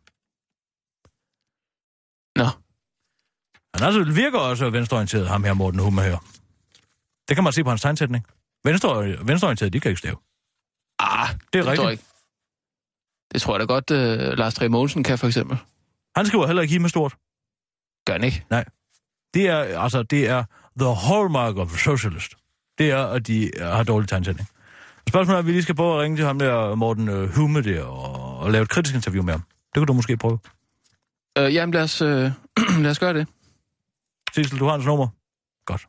Speaker 5: Nå.
Speaker 4: Han altså virker også venstreorienteret, ham her Morten Humme her. Det kan man se på hans tegnsætning. Venstre, venstreorienteret, de kan ikke stave.
Speaker 5: Ah,
Speaker 4: Det er
Speaker 5: det tror
Speaker 4: rigtigt.
Speaker 5: jeg ikke. Det tror jeg da godt, uh, Lars Trier Mogensen kan, for eksempel.
Speaker 4: Han skriver heller ikke i med stort.
Speaker 5: Gør han ikke?
Speaker 4: Det er, altså, det er the hallmark of a socialist. Det er, at de øh, har dårlig tegnsætning. Spørgsmålet er, at vi lige skal prøve at ringe til ham der, Morten øh, Hume der, og, og lave et kritisk interview med ham. Det kunne du måske prøve.
Speaker 5: Øh, jamen, lad os, øh, lad os gøre det.
Speaker 4: Sissel, du har hans nummer. Godt.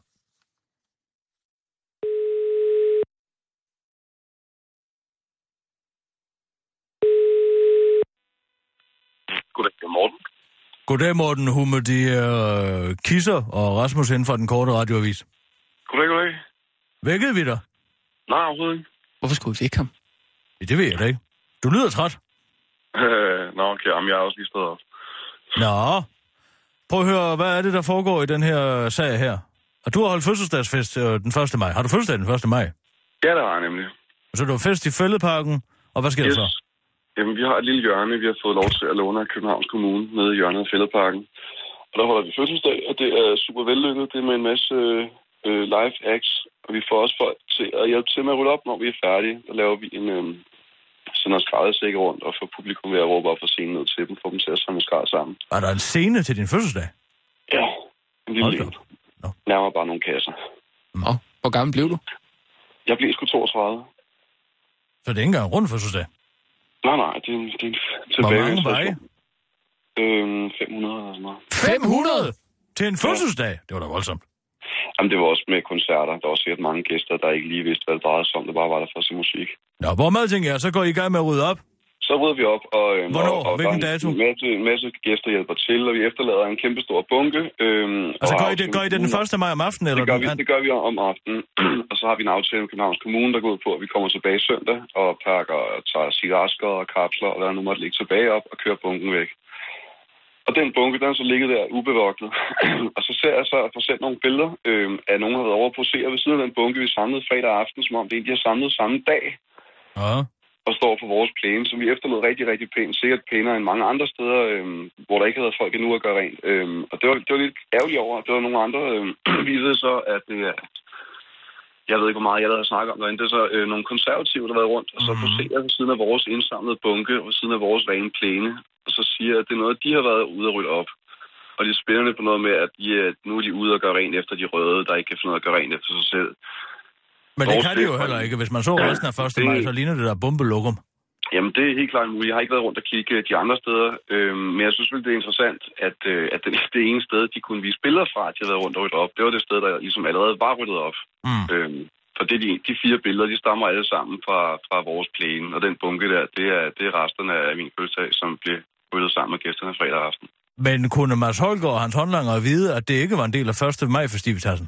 Speaker 7: Goddag, Morten.
Speaker 4: Goddag, Morten Humme. Det er øh, Kisser og Rasmus hen fra den korte radioavis.
Speaker 7: Goddag, goddag.
Speaker 4: Vækkede vi dig?
Speaker 7: Nej, overhovedet ikke.
Speaker 5: Hvorfor skulle vi vække ham?
Speaker 4: Ja, Det ved jeg da ikke. Du lyder træt.
Speaker 7: Øh, Nå, okay, jamen, jeg er også lige stået op.
Speaker 4: Nå. Prøv at høre, hvad er det, der foregår i den her øh, sag her? Og du har holdt fødselsdagsfest øh, den 1. maj. Har du fødselsdag den 1. maj?
Speaker 7: Ja, der var jeg nemlig.
Speaker 4: Og så er du fest i Fældeparken, og hvad sker yes. der så?
Speaker 7: Jamen, vi har et lille hjørne, vi har fået lov til at låne af Københavns Kommune nede i hjørnet af Fælledparken. Og der holder vi fødselsdag, og det er super vellykket. Det er med en masse øh, live acts, og vi får også folk til at hjælpe til med at rulle op, når vi er færdige. Der laver vi en... Øh, sender skræddersække rundt og får publikum ved at råbe op fra scenen ned til dem, får dem til at samle skræd sammen.
Speaker 4: Er der en scene til din fødselsdag?
Speaker 7: Ja, en lille
Speaker 4: Hold da
Speaker 7: en.
Speaker 4: op. Nå.
Speaker 7: Nærmere bare nogle kasser.
Speaker 5: Nå, hvor gammel blev du?
Speaker 7: Jeg blev sgu 32.
Speaker 4: Så det er ikke engang en rund fødselsdag.
Speaker 7: Nej, nej, det er en, det er en
Speaker 4: Hvor
Speaker 7: tilbage.
Speaker 4: mange var I?
Speaker 7: Øhm, 500 eller sådan noget.
Speaker 4: 500! Til en fødselsdag? Det var da voldsomt.
Speaker 7: Jamen, det var også med koncerter. Der var sikkert mange gæster, der ikke lige vidste, hvad det drejede sig om. Det bare var der for at se musik.
Speaker 4: Nå, hvor meget tænker jeg, så går I i gang med at rydde op.
Speaker 7: Så rydder vi op, og, øhm,
Speaker 4: Hvornår?
Speaker 7: og, og der
Speaker 4: Hvilken
Speaker 7: er en
Speaker 4: dato?
Speaker 7: masse, en masse gæster hjælper til, og vi efterlader en kæmpe stor bunke. Øhm,
Speaker 4: Altså,
Speaker 7: og
Speaker 4: gør
Speaker 7: har
Speaker 4: I det,
Speaker 7: aftalt-
Speaker 4: gør I det den 1. maj om aftenen? Eller
Speaker 7: Det gør,
Speaker 4: den
Speaker 7: vi,
Speaker 4: anden?
Speaker 7: det gør vi om aftenen, og så har vi en aftale med Københavns Kommune, der går ud på, at vi kommer tilbage søndag og pakker og tager cigaretter og kapsler, og hvad der nu måtte ligge tilbage op og kører bunken væk. Og den bunke, den har så ligget der ubevogtet. og så ser jeg så at få sendt nogle billeder øh, af nogen, der har været over på seer ved siden af den bunke, vi samlede fredag aften, som om det egentlig har samlet samme dag
Speaker 4: Ja.
Speaker 7: og står på vores plæne, som vi efterlod rigtig, rigtig pænt, sikkert pænere end mange andre steder, øhm, hvor der ikke havde folk endnu at gøre rent. Øhm, og det var, det var lidt ærgerligt over, at det var nogle andre, øhm, viste så, at det er, jeg ved ikke, hvor meget jeg havde snakket om derinde, det er så øh, nogle konservative, der har været rundt, og så poserer ved siden af vores indsamlede bunke, og ved siden af vores rene plæne, og så siger, at det er noget, de har været ude at rydde op. Og de spiller lidt på noget med, at de, er- nu er de ude og gøre rent efter de røde, der ikke kan finde noget at gøre rent efter sig selv.
Speaker 4: Men det
Speaker 7: Vores
Speaker 4: kan de jo
Speaker 7: det-
Speaker 4: heller ikke. Hvis man så resten af 1.
Speaker 7: det-
Speaker 4: maj, så ligner det der bombelokum.
Speaker 7: Jamen, det er helt klart muligt. Jeg har ikke været rundt og kigge øh, de andre steder, øhm, men jeg synes vel, det er interessant, at, øh, at det, det ene sted, de kunne vise billeder fra, at de havde været rundt og ryddet op, det var det sted, der ligesom allerede var ryddet op.
Speaker 4: Mm.
Speaker 7: Øhm, for det, er de, de fire billeder, de stammer alle sammen fra, fra vores plæne, og den bunke der, det er, det er resterne af min fødselsdag, som blev ryddet sammen med gæsterne fredag aften.
Speaker 4: Men kunne Mads Holger og hans håndlanger vide, at det ikke var en del af 1. maj festivitassen?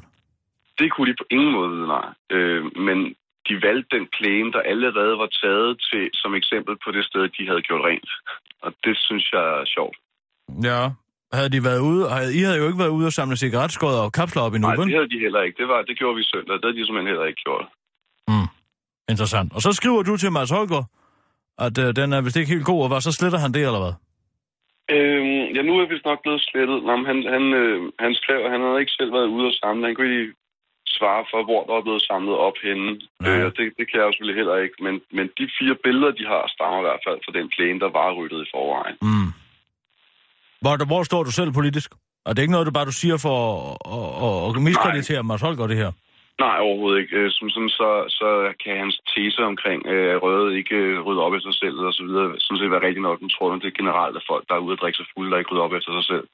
Speaker 7: Det kunne de på ingen måde vide, nej. Øh, men de valgte den plæne, der allerede var taget til, som eksempel på det sted, de havde gjort rent. Og det synes jeg er sjovt.
Speaker 4: Ja. Havde de været ude, havde, I havde jo ikke været ude og samle cigaretskodder og kapsler op endnu,
Speaker 7: Nej,
Speaker 4: vel?
Speaker 7: det havde de heller ikke. Det, var, det gjorde vi søndag. Det havde de simpelthen heller ikke gjort.
Speaker 4: Interessant. Og så skriver du til Mads Holger, at øh, den er vist ikke helt god, og hvad, så sletter han det, eller hvad?
Speaker 7: Øhm, ja, nu er vi nok blevet slettet. Nå, men han, han, øh, han skrev, at han havde ikke selv været ude og samle. Han kunne ikke svare for, hvor der var blevet samlet op henne.
Speaker 4: Nej.
Speaker 7: Øh, og det, det kan jeg jo selvfølgelig heller ikke. Men, men de fire billeder, de har, stammer i hvert fald fra den plæne, der var ryddet i forvejen.
Speaker 4: Mm. Hvor, hvor står du selv politisk? Og det er ikke noget, du bare du siger for at, at, at miskreditere Mads Holger, det her?
Speaker 7: Nej, overhovedet ikke. Øh, Som sådan, så, så kan hans tese omkring, øh, at røde ikke øh, rydder op efter sig selv og så videre, sådan set være rigtig nok. Den tror, at det er generelt af folk, der er ude at drikke sig fulde, der ikke rydder op efter sig selv.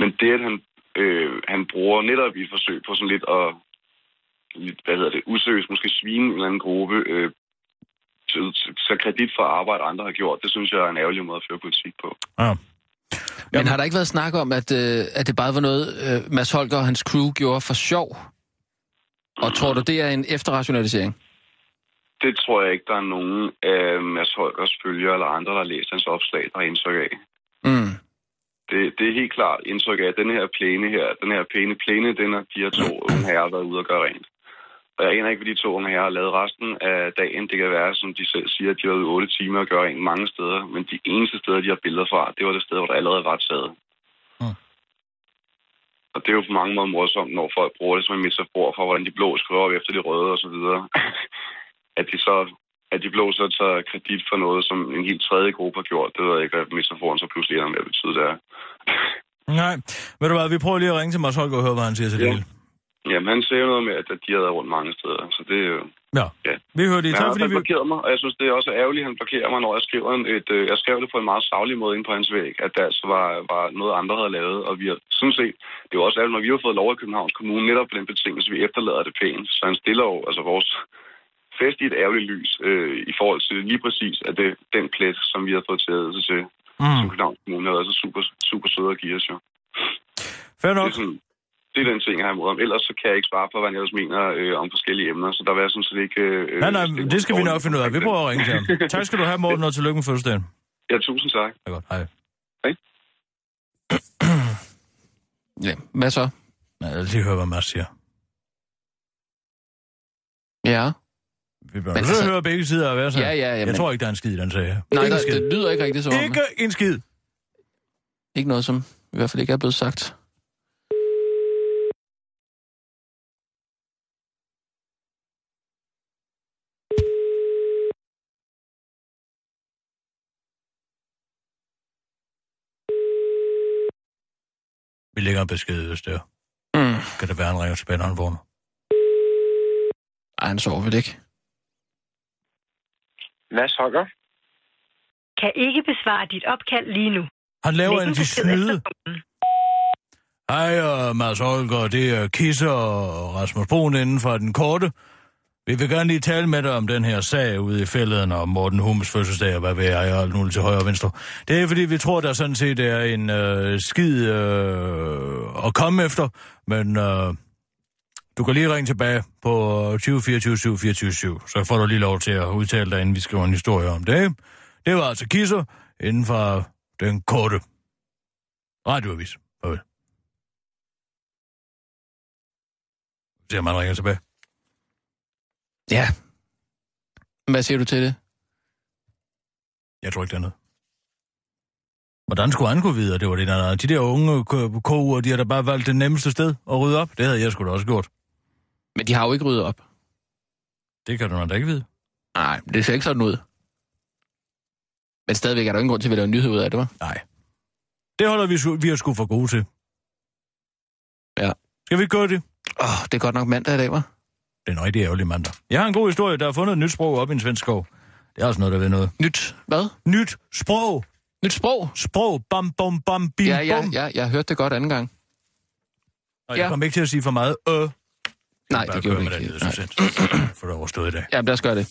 Speaker 7: Men det, at han, øh, han bruger netop i et forsøg på sådan lidt at, lidt, hvad hedder det, useriøst måske svine en eller anden gruppe, øh, til- til- så kredit for arbejde, andre har gjort, det synes jeg er en ærgerlig måde at føre politik på.
Speaker 4: Ja.
Speaker 5: Men har der ikke været snak om, at, øh, at det bare var noget, øh, Mads Holger og hans crew gjorde for sjov? Og tror du, det er en efterrationalisering?
Speaker 7: Det tror jeg ikke, der er nogen af Mads Holgers følgere eller andre, der har læst hans opslag, der har indtryk af.
Speaker 5: Mm.
Speaker 7: det, det er helt klart indtryk af, at den her plæne her, den her pæne plæne, den har de her to unge herrer været ude og gøre rent. Og jeg aner ikke, hvad de to unge herrer har lavet resten af dagen. Det kan være, som de selv siger, at de har været ude otte timer og gøre rent mange steder. Men de eneste steder, de har billeder fra, det var det sted, hvor der allerede var taget.
Speaker 4: Mm.
Speaker 7: Og det er jo på mange måder morsomt, når folk bruger det som en metafor for, hvordan de blå skriver op efter de røde og så videre. at de så at de blå så tager kredit for noget, som en helt tredje gruppe har gjort. Det ved jeg ikke, hvad metaforen så pludselig ender med at betyde der.
Speaker 4: Nej. Ved du hvad, vi prøver lige at ringe til Mads Holger og høre, hvad han siger til det
Speaker 7: Ja.
Speaker 4: hele.
Speaker 7: Jamen, han sagde noget med, at at de havde været rundt mange steder, så det, er jo-
Speaker 4: Ja.
Speaker 7: Ja.
Speaker 4: Vi hører det.
Speaker 7: Men
Speaker 4: Tak
Speaker 7: han har i
Speaker 4: fordi vi...
Speaker 7: hvert fald blokeret mig, og jeg synes, det er også ærgerligt, at han blokerer mig, når jeg skriver en, et... Øh, jeg skrev det på en meget savlig måde ind på hans væg, at det altså var, var noget, andre havde lavet. Og vi har sådan set... Det er jo også ærgerligt, når vi har fået lov af Københavns Kommune, netop på den betingelse, vi efterlader det pænt. Så han stiller jo altså vores fest i et ærgerligt lys øh, i forhold til lige præcis at det, den plet, som vi har fået tilladelse til, mm. som
Speaker 4: Mm.
Speaker 7: Københavns Kommune har været så super, super søde at give os jo.
Speaker 4: Fair
Speaker 7: Det
Speaker 4: nok.
Speaker 7: er, sådan, det er den ting, jeg har imod ham. Ellers så kan jeg ikke svare på, hvad han ellers mener øh, om forskellige emner, så der vil jeg sådan set ikke... Øh,
Speaker 4: Nej, nej,
Speaker 7: stille
Speaker 4: det skal vi
Speaker 7: mig
Speaker 4: nok finde ud af. Vi
Speaker 7: dårligt.
Speaker 4: prøver at ringe til ham. Tak skal du have, Morten, og tillykke med fødselsdagen.
Speaker 7: Ja, tusind tak.
Speaker 4: Det er godt. Hej.
Speaker 5: Ja, hvad så?
Speaker 4: Nej, lad os lige høre, hvad Mads siger.
Speaker 5: Ja.
Speaker 4: Vi bliver
Speaker 5: Men
Speaker 4: nødt til at
Speaker 5: altså-
Speaker 4: høre begge sider af hver sag.
Speaker 5: Ja, ja, ja,
Speaker 4: Jeg
Speaker 5: men-
Speaker 4: tror ikke, der er en skid i den sag her.
Speaker 5: Nej,
Speaker 4: Ikke
Speaker 5: der,
Speaker 4: en skid.
Speaker 5: det lyder ikke rigtigt som om...
Speaker 4: Ikke en skid.
Speaker 5: Ikke noget, som i hvert fald ikke er blevet sagt.
Speaker 4: Vi lægger en besked, hvis det er.
Speaker 5: Mm.
Speaker 4: Kan det være, han ringer tilbage, når han vågner?
Speaker 5: Ej, han sover vel ikke.
Speaker 7: Mads Holger?
Speaker 8: Kan ikke besvare dit opkald lige nu.
Speaker 4: Han laver
Speaker 8: Læg
Speaker 4: en af de
Speaker 8: besked
Speaker 4: snyde.
Speaker 8: efter tonen.
Speaker 4: Hej, og Mads Holger, det er Kisser og Rasmus Brun inden for den korte. Vi vil gerne lige tale med dig om den her sag ude i fælleden om Morten Hums fødselsdag og hvad ved jeg, og alt muligt til højre og venstre. Det er fordi, vi tror, der sådan set er en øh, skid øh, at komme efter, men øh, du kan lige ringe tilbage på 2024 724 så får du lige lov til at udtale dig, inden vi skriver en historie om det. ikke? Det var altså Kisser inden for den korte radioavis. Farvel. Så man ringer tilbage.
Speaker 5: Ja. Hvad siger du til det?
Speaker 4: Jeg tror ikke, det er noget. Hvordan skulle han kunne vide, at det var det der? De der unge ko- koer, de har da bare valgt det nemmeste sted at rydde op. Det havde jeg sgu da også gjort.
Speaker 5: Men de har jo ikke ryddet op.
Speaker 4: Det kan du da ikke vide.
Speaker 5: Nej, det ser ikke sådan ud. Men stadigvæk er der jo ingen grund til, at vi laver en nyhed ud af det, var?
Speaker 4: Nej. Det holder vi, sgu- vi er sgu for gode til.
Speaker 5: Ja.
Speaker 4: Skal vi ikke gøre det?
Speaker 5: Åh, oh, det er godt nok mandag i dag, var?
Speaker 4: Det er en rigtig ærgerlig mandag. Jeg har en god historie, der har fundet et nyt sprog op i en svensk skov. Det er også noget, der ved noget.
Speaker 5: Nyt, hvad?
Speaker 4: Nyt sprog.
Speaker 5: Nyt sprog?
Speaker 4: Sprog. Bam, bam, bam, bim,
Speaker 5: ja, ja,
Speaker 4: bum.
Speaker 5: ja, jeg hørte det godt anden gang.
Speaker 4: Og jeg
Speaker 5: Ja.
Speaker 4: kom ikke til at sige for meget. Øh.
Speaker 5: Nej,
Speaker 4: Bare
Speaker 5: det
Speaker 4: kør
Speaker 5: gjorde vi
Speaker 4: med den
Speaker 5: ikke.
Speaker 4: lille
Speaker 5: Nej.
Speaker 4: succes. For det er overstået i dag.
Speaker 5: Jamen, lad os gøre det.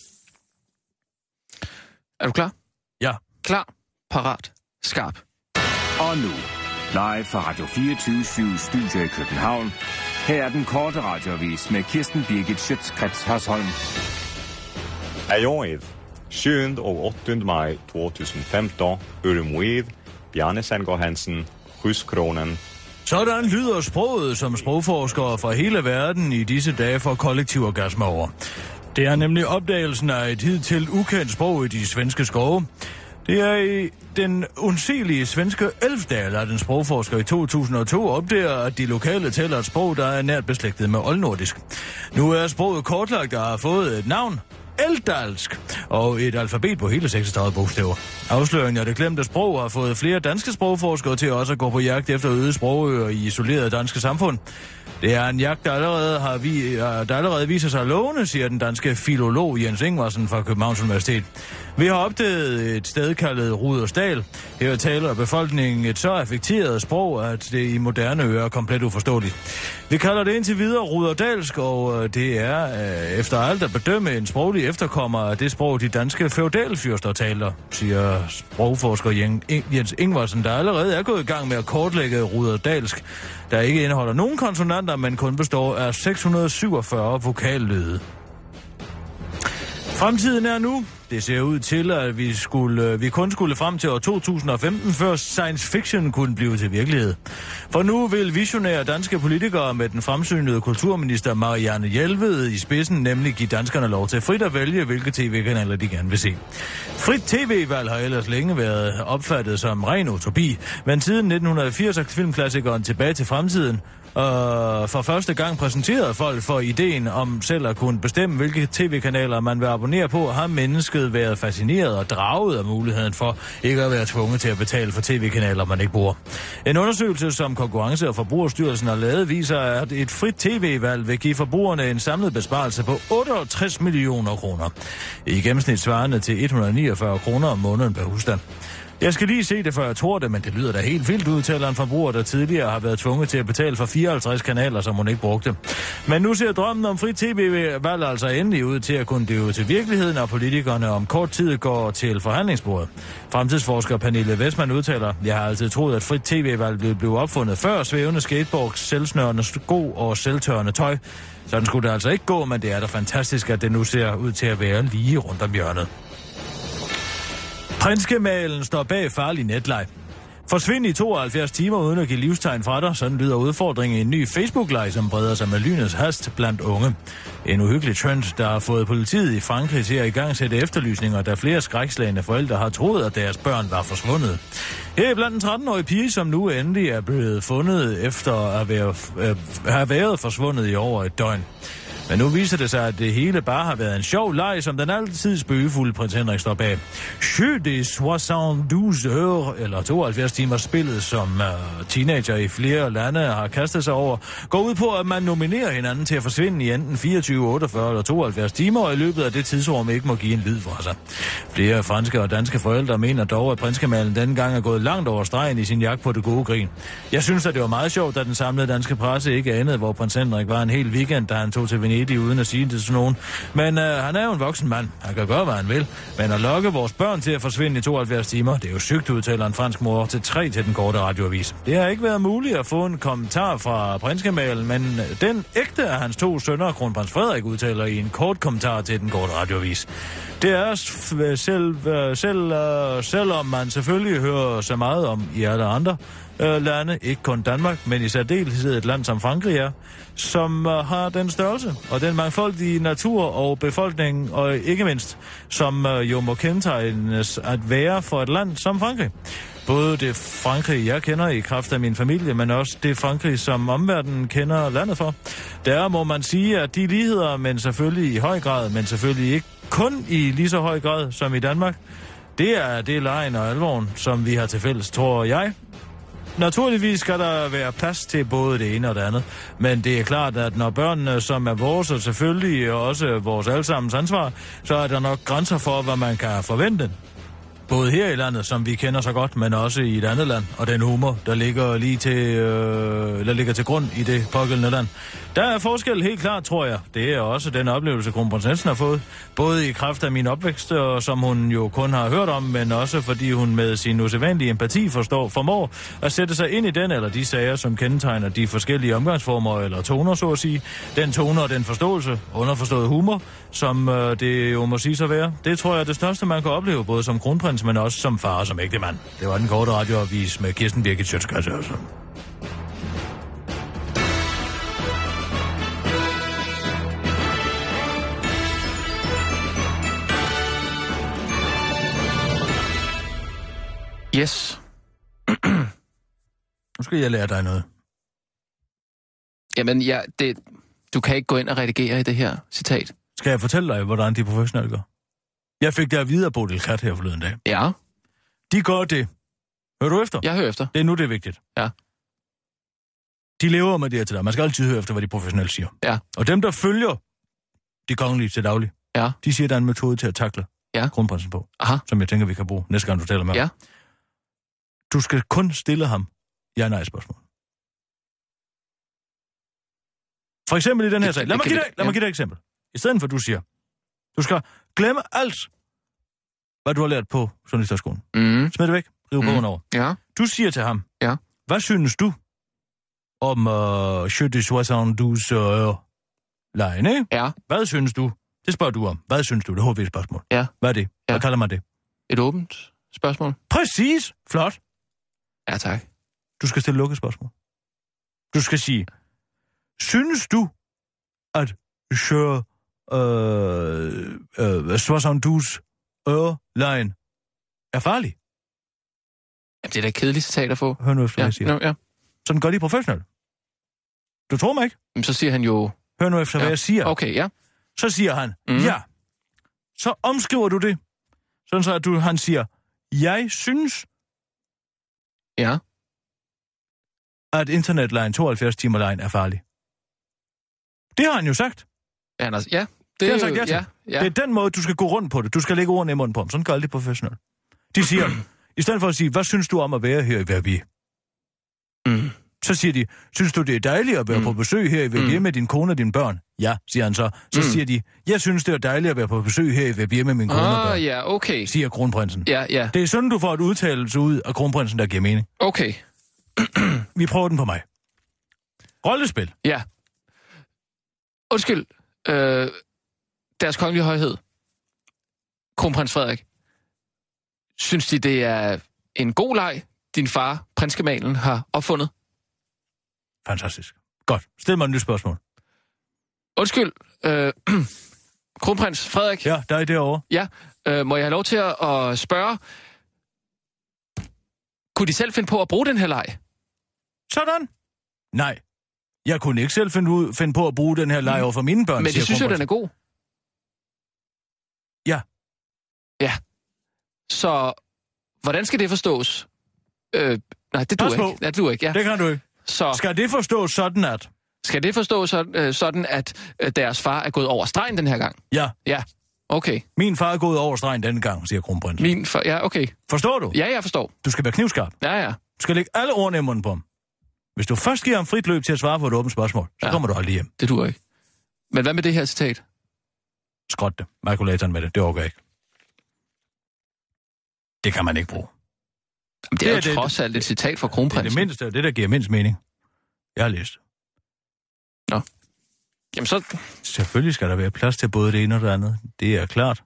Speaker 5: Er du klar?
Speaker 4: Ja.
Speaker 5: Klar, parat, skarp.
Speaker 6: Og nu, live fra Radio 24 Studio i København. Her er den korte radiovis med Kirsten Birgit Schøtzgrads Hasholm.
Speaker 9: Ajoriv, 7 och 8 maj 2015, Urumouiv, Bjarne Sandgaard Hansen, Skyskronen,
Speaker 4: Sådan lyder sproget, som sprogforskere fra hele verden i disse dage får kollektiv orgasme over. Det er nemlig opdagelsen af et hidtil ukendt sprog i de svenske skove. Det er i den undselige svenske Elfdal, at en sprogforsker i 2002 opdager, at de lokale taler et sprog, der er nært beslægtet med oldnordisk. Nu er sproget kortlagt og har fået et navn, Eldalsk og et alfabet på hele 36 bogstaver. Afsløringen af det glemte sprog har fået flere danske sprogforskere til også at gå på jagt efter øde sprogøer i isolerede danske samfund. Det er en jagt, der allerede, har vi, der allerede viser sig lovende, siger den danske filolog Jens Ingvarsen fra Københavns Universitet. Vi har opdaget et sted kaldet Rudersdal. Her taler befolkningen et så affekteret sprog, at det i moderne ører er komplet uforståeligt. Vi kalder det indtil videre Ruderdalsk, og øh, det er øh, efter alt at bedømme en sproglig efterkommer af det sprog, de danske feudalfyrster taler, siger sprogforsker Jen- Ing- Jens Ingvarsen, der allerede er gået i gang med at kortlægge Ruderdalsk, der ikke indeholder nogen konsonanter, men kun består af 647 vokallyde. Fremtiden er nu. Det ser ud til, at vi, skulle, vi kun skulle frem til år 2015, før science fiction kunne blive til virkelighed. For nu vil visionære danske politikere med den fremsynede kulturminister Marianne Hjelved i spidsen nemlig give danskerne lov til frit at vælge, hvilke tv-kanaler de gerne vil se. Frit tv-valg har ellers længe været opfattet som ren utopi, men siden 1980 er filmklassikeren tilbage til fremtiden øh, for første gang præsenterede folk for ideen om selv at kunne bestemme, hvilke tv-kanaler man vil abonnere på, har mennesket været fascineret og draget af muligheden for ikke at være tvunget til at betale for tv-kanaler, man ikke bruger. En undersøgelse, som Konkurrence- og Forbrugerstyrelsen har lavet, viser, at et frit tv-valg vil give forbrugerne en samlet besparelse på 68 millioner kroner. I gennemsnit svarende til 149 kroner om måneden per husstand. Jeg skal lige se det, før jeg tror det, men det lyder da helt vildt, udtaler en forbruger, der tidligere har været tvunget til at betale for 54 kanaler, som hun ikke brugte. Men nu ser drømmen om fri tv-valg altså endelig ud til at kunne døve til virkeligheden, og politikerne om kort tid går til forhandlingsbordet. Fremtidsforsker Pernille Vestman udtaler, jeg har altid troet, at frit tv-valg blev- blev opfundet før svævende skateboards, selvsnørende sko og selvtørrende tøj. Sådan skulle det altså ikke gå, men det er da fantastisk, at det nu ser ud til at være lige rundt om hjørnet. Prinskemalen står bag farlig netleg. Forsvind i 72 timer uden at give livstegn fra dig, sådan lyder udfordringen i en ny Facebook-leg, som breder sig med lynets hast blandt unge. En uhyggelig trend, der har fået politiet i Frankrig til at i gang sætte efterlysninger, da flere skrækslagende forældre har troet, at deres børn var forsvundet. Her er blandt en 13-årig pige, som nu endelig er blevet fundet efter at være, øh, have været forsvundet i over et døgn. Men nu viser det sig, at det hele bare har været en sjov leg, som den altid spøgefulde prins Henrik står bag. Jeu de 72 heures, eller 72 timer spillet, som uh, teenager i flere lande har kastet sig over, går ud på, at man nominerer hinanden til at forsvinde i enten 24, 48 eller 72 timer, og i løbet af det tidsrum ikke må give en lyd fra sig. Flere franske og danske forældre mener dog, at prinskemalen dengang er gået langt over stregen i sin jagt på det gode grin. Jeg synes, at det var meget sjovt, da den samlede danske presse ikke anede, hvor prins Henrik var en hel weekend, da han tog til Venedig uden at sige det til nogen. Men øh, han er jo en voksen mand. Han kan gøre, hvad han vil. Men at lokke vores børn til at forsvinde i 72 timer, det er jo sygt, udtaler en fransk mor til tre til den korte radioavis. Det har ikke været muligt at få en kommentar fra prinskemalen, men øh, den ægte af hans to sønner, kronprins Frederik, udtaler i en kort kommentar til den korte radioavis. Det er s- f- selv, øh, selv, øh, selvom man selvfølgelig hører så meget om i alle andre, øh, lande, ikke kun Danmark, men i særdeleshed et land som Frankrig er, som øh, har den størrelse og den mangfoldige natur og befolkning, og ikke mindst, som øh, jo må kendetegnes at være for et land som Frankrig. Både det Frankrig, jeg kender i kraft af min familie, men også det Frankrig, som omverdenen kender landet for. Der må man sige, at de ligheder, men selvfølgelig i høj grad, men selvfølgelig ikke kun i lige så høj grad som i Danmark, det er det lejen og alvoren, som vi har til fælles, tror jeg. Naturligvis skal der være plads til både det ene og det andet, men det er klart, at når børnene, som er vores og selvfølgelig også vores allesammens ansvar, så er der nok grænser for, hvad man kan forvente. Både her i landet, som vi kender så godt, men også i et andet land, og den humor, der ligger lige til, øh, der ligger til grund i det pågældende land. Der er forskel helt klart, tror jeg. Det er også den oplevelse, kronprinsessen har fået. Både i kraft af min opvækst, og som hun jo kun har hørt om, men også fordi hun med sin usædvanlige empati forstår, formår at sætte sig ind i den eller de sager, som kendetegner de forskellige omgangsformer eller toner, så at sige. Den tone og den forståelse, underforstået humor, som øh, det jo må sige sig være. Det tror jeg er det største, man kan opleve, både som kronprins, men også som far og som ægte mand. Det var den korte radioavis med Kirsten Birgit Sjøtskasse også.
Speaker 5: Yes.
Speaker 4: Nu skal jeg lære dig noget.
Speaker 5: Jamen, ja, det, du kan ikke gå ind og redigere i det her citat.
Speaker 4: Skal jeg fortælle dig, hvordan de professionelle gør? Jeg fik det at vide af Bodil Kat her forleden dag.
Speaker 5: Ja,
Speaker 4: De gør det. Hører du efter?
Speaker 5: jeg hører efter.
Speaker 4: Det er nu, det er vigtigt.
Speaker 5: Ja.
Speaker 4: De lever med det her til dig. Man skal altid høre efter, hvad de professionelle siger.
Speaker 5: Ja.
Speaker 4: Og dem, der følger de kongelige til daglig,
Speaker 5: Ja.
Speaker 4: de siger, der er en metode til at takle
Speaker 5: Ja.
Speaker 4: kronprinsen på,
Speaker 5: Aha.
Speaker 4: som jeg tænker, vi kan bruge næste gang, du taler med ham.
Speaker 5: Ja.
Speaker 4: Du skal kun stille ham ja-nej-spørgsmål. For eksempel i den her
Speaker 5: Det-
Speaker 4: sag.
Speaker 5: det
Speaker 4: Lad mig,
Speaker 5: kan
Speaker 4: give
Speaker 5: vi-
Speaker 4: dig, lad
Speaker 5: ja.
Speaker 4: mig give dig et eksempel. I stedet for, at du siger, du skal glemme alt, hvad du har lært på journalisterskolen.
Speaker 5: Mm,
Speaker 4: Smid det væk. Riv
Speaker 5: Mm.
Speaker 4: bogen over.
Speaker 5: ja.
Speaker 4: Du siger til ham,
Speaker 5: Ja.
Speaker 4: hvad synes du om øh, Je de 72 øh, lejen, ikke?
Speaker 5: Ja.
Speaker 4: Hvad synes du? Det spørger du om. Hvad synes du? Det er et spørgsmål.
Speaker 5: Ja.
Speaker 4: Hvad er det? Hvad
Speaker 5: Ja.
Speaker 4: kalder man det?
Speaker 5: Et åbent spørgsmål.
Speaker 4: Præcis. Flot.
Speaker 5: Ja, tak.
Speaker 4: Du skal stille lukket spørgsmål. Du skal sige, synes du, at Je øh, øh, 72 øh, lejen er farlig?
Speaker 5: Jamen, det er da et kedeligt citat at få.
Speaker 4: Hør nu efter, hvad
Speaker 5: Ja,
Speaker 4: jeg siger.
Speaker 5: nå, ja.
Speaker 4: Sådan gør de professionelt. Du tror mig ikke?
Speaker 5: Jamen, Så siger han jo,
Speaker 4: Hør nu efter, ja.
Speaker 5: Ja.
Speaker 4: hvad jeg siger.
Speaker 5: okay, ja.
Speaker 4: Så siger han, mm.
Speaker 5: Mm.
Speaker 4: ja. Så omskriver du det. Sådan så, at du, han siger, jeg synes,
Speaker 5: Ja.
Speaker 4: at internetlejen 72 timer lejen er farlig. Det har han jo sagt.
Speaker 5: Ja, Anders, ja.
Speaker 4: Det har
Speaker 5: er
Speaker 4: jeg sagt
Speaker 5: jo-
Speaker 4: ja til.
Speaker 5: ja, ja.
Speaker 4: Det er den måde, du skal gå rundt på det. Du skal lægge ordene i munden på dem. Sådan gør alle de professionelle. De siger, i stedet for at sige, hvad synes du om at være her i Verbi?
Speaker 5: Mm.
Speaker 4: Så siger de, synes du, det er dejligt at være mm. på
Speaker 5: Mm.
Speaker 4: besøg her i Verbi
Speaker 5: Mm.
Speaker 4: med din kone og dine børn? Ja, siger han så. Så mm.
Speaker 5: Mm.
Speaker 4: siger de, jeg synes, det er dejligt at være på besøg her i Verbi med min kone og børn,
Speaker 5: Ah, ja, okay.
Speaker 4: siger kronprinsen.
Speaker 5: Ja, ja,
Speaker 4: Det er sådan, du får et udtalelse ud af kronprinsen, der giver mening.
Speaker 5: okay.
Speaker 4: Vi prøver den på mig. Rollespil.
Speaker 5: Ja. Undskyld, øh, deres kongelige højhed, kronprins Frederik, synes de, det er en god leg, din far, prinsgemalen, har opfundet?
Speaker 4: Fantastisk. Godt. Stil mig et nyt spørgsmål.
Speaker 5: Undskyld, øh, kronprins Frederik,
Speaker 4: Ja, der er derovre.
Speaker 5: ja, øh, må jeg have lov til at, at spørge, kunne de selv finde på at bruge den her leg?
Speaker 4: Sådan. Nej. Jeg kunne ikke selv finde, ud, finde på at bruge den her leg over for mine børn,
Speaker 5: Men de synes jo, den er god.
Speaker 4: Ja.
Speaker 5: Ja. Så hvordan skal det forstås? Øh, nej, det
Speaker 4: Pas
Speaker 5: duer
Speaker 4: på.
Speaker 5: ikke. Ja, det duer ikke, ja.
Speaker 4: Det kan du ikke.
Speaker 5: Så
Speaker 4: Skal det forstås sådan, at...
Speaker 5: skal det forstås sådan, øh, sådan, at øh, deres far er gået over stregen den her gang?
Speaker 4: Ja,
Speaker 5: Ja, okay.
Speaker 4: min far er gået over stregen denne gang, siger kronprinsen.
Speaker 5: Min far, ja, okay.
Speaker 4: Forstår du?
Speaker 5: Ja, jeg forstår.
Speaker 4: Du skal være knivskarp.
Speaker 5: Ja, ja.
Speaker 4: Du skal lægge alle ordene i munden på ham. Hvis du først giver ham frit løb til at svare på et åbent spørgsmål, så
Speaker 5: Ja.
Speaker 4: kommer du aldrig hjem.
Speaker 5: Det duer ikke. Men hvad med det her citat?
Speaker 4: Skrot det. Makulatoren med det. Det orker jeg ikke. Det kan man ikke bruge.
Speaker 5: Jamen, det
Speaker 4: Det
Speaker 5: er
Speaker 4: er
Speaker 5: jo
Speaker 4: det-
Speaker 5: trods alt et citat fra
Speaker 4: Det er det
Speaker 5: kronprinsen.
Speaker 4: mindste, det der giver mindst mening. Jeg har læst.
Speaker 5: Jamen, så...
Speaker 4: Selvfølgelig skal der være plads til både det ene og det andet. Det er klart,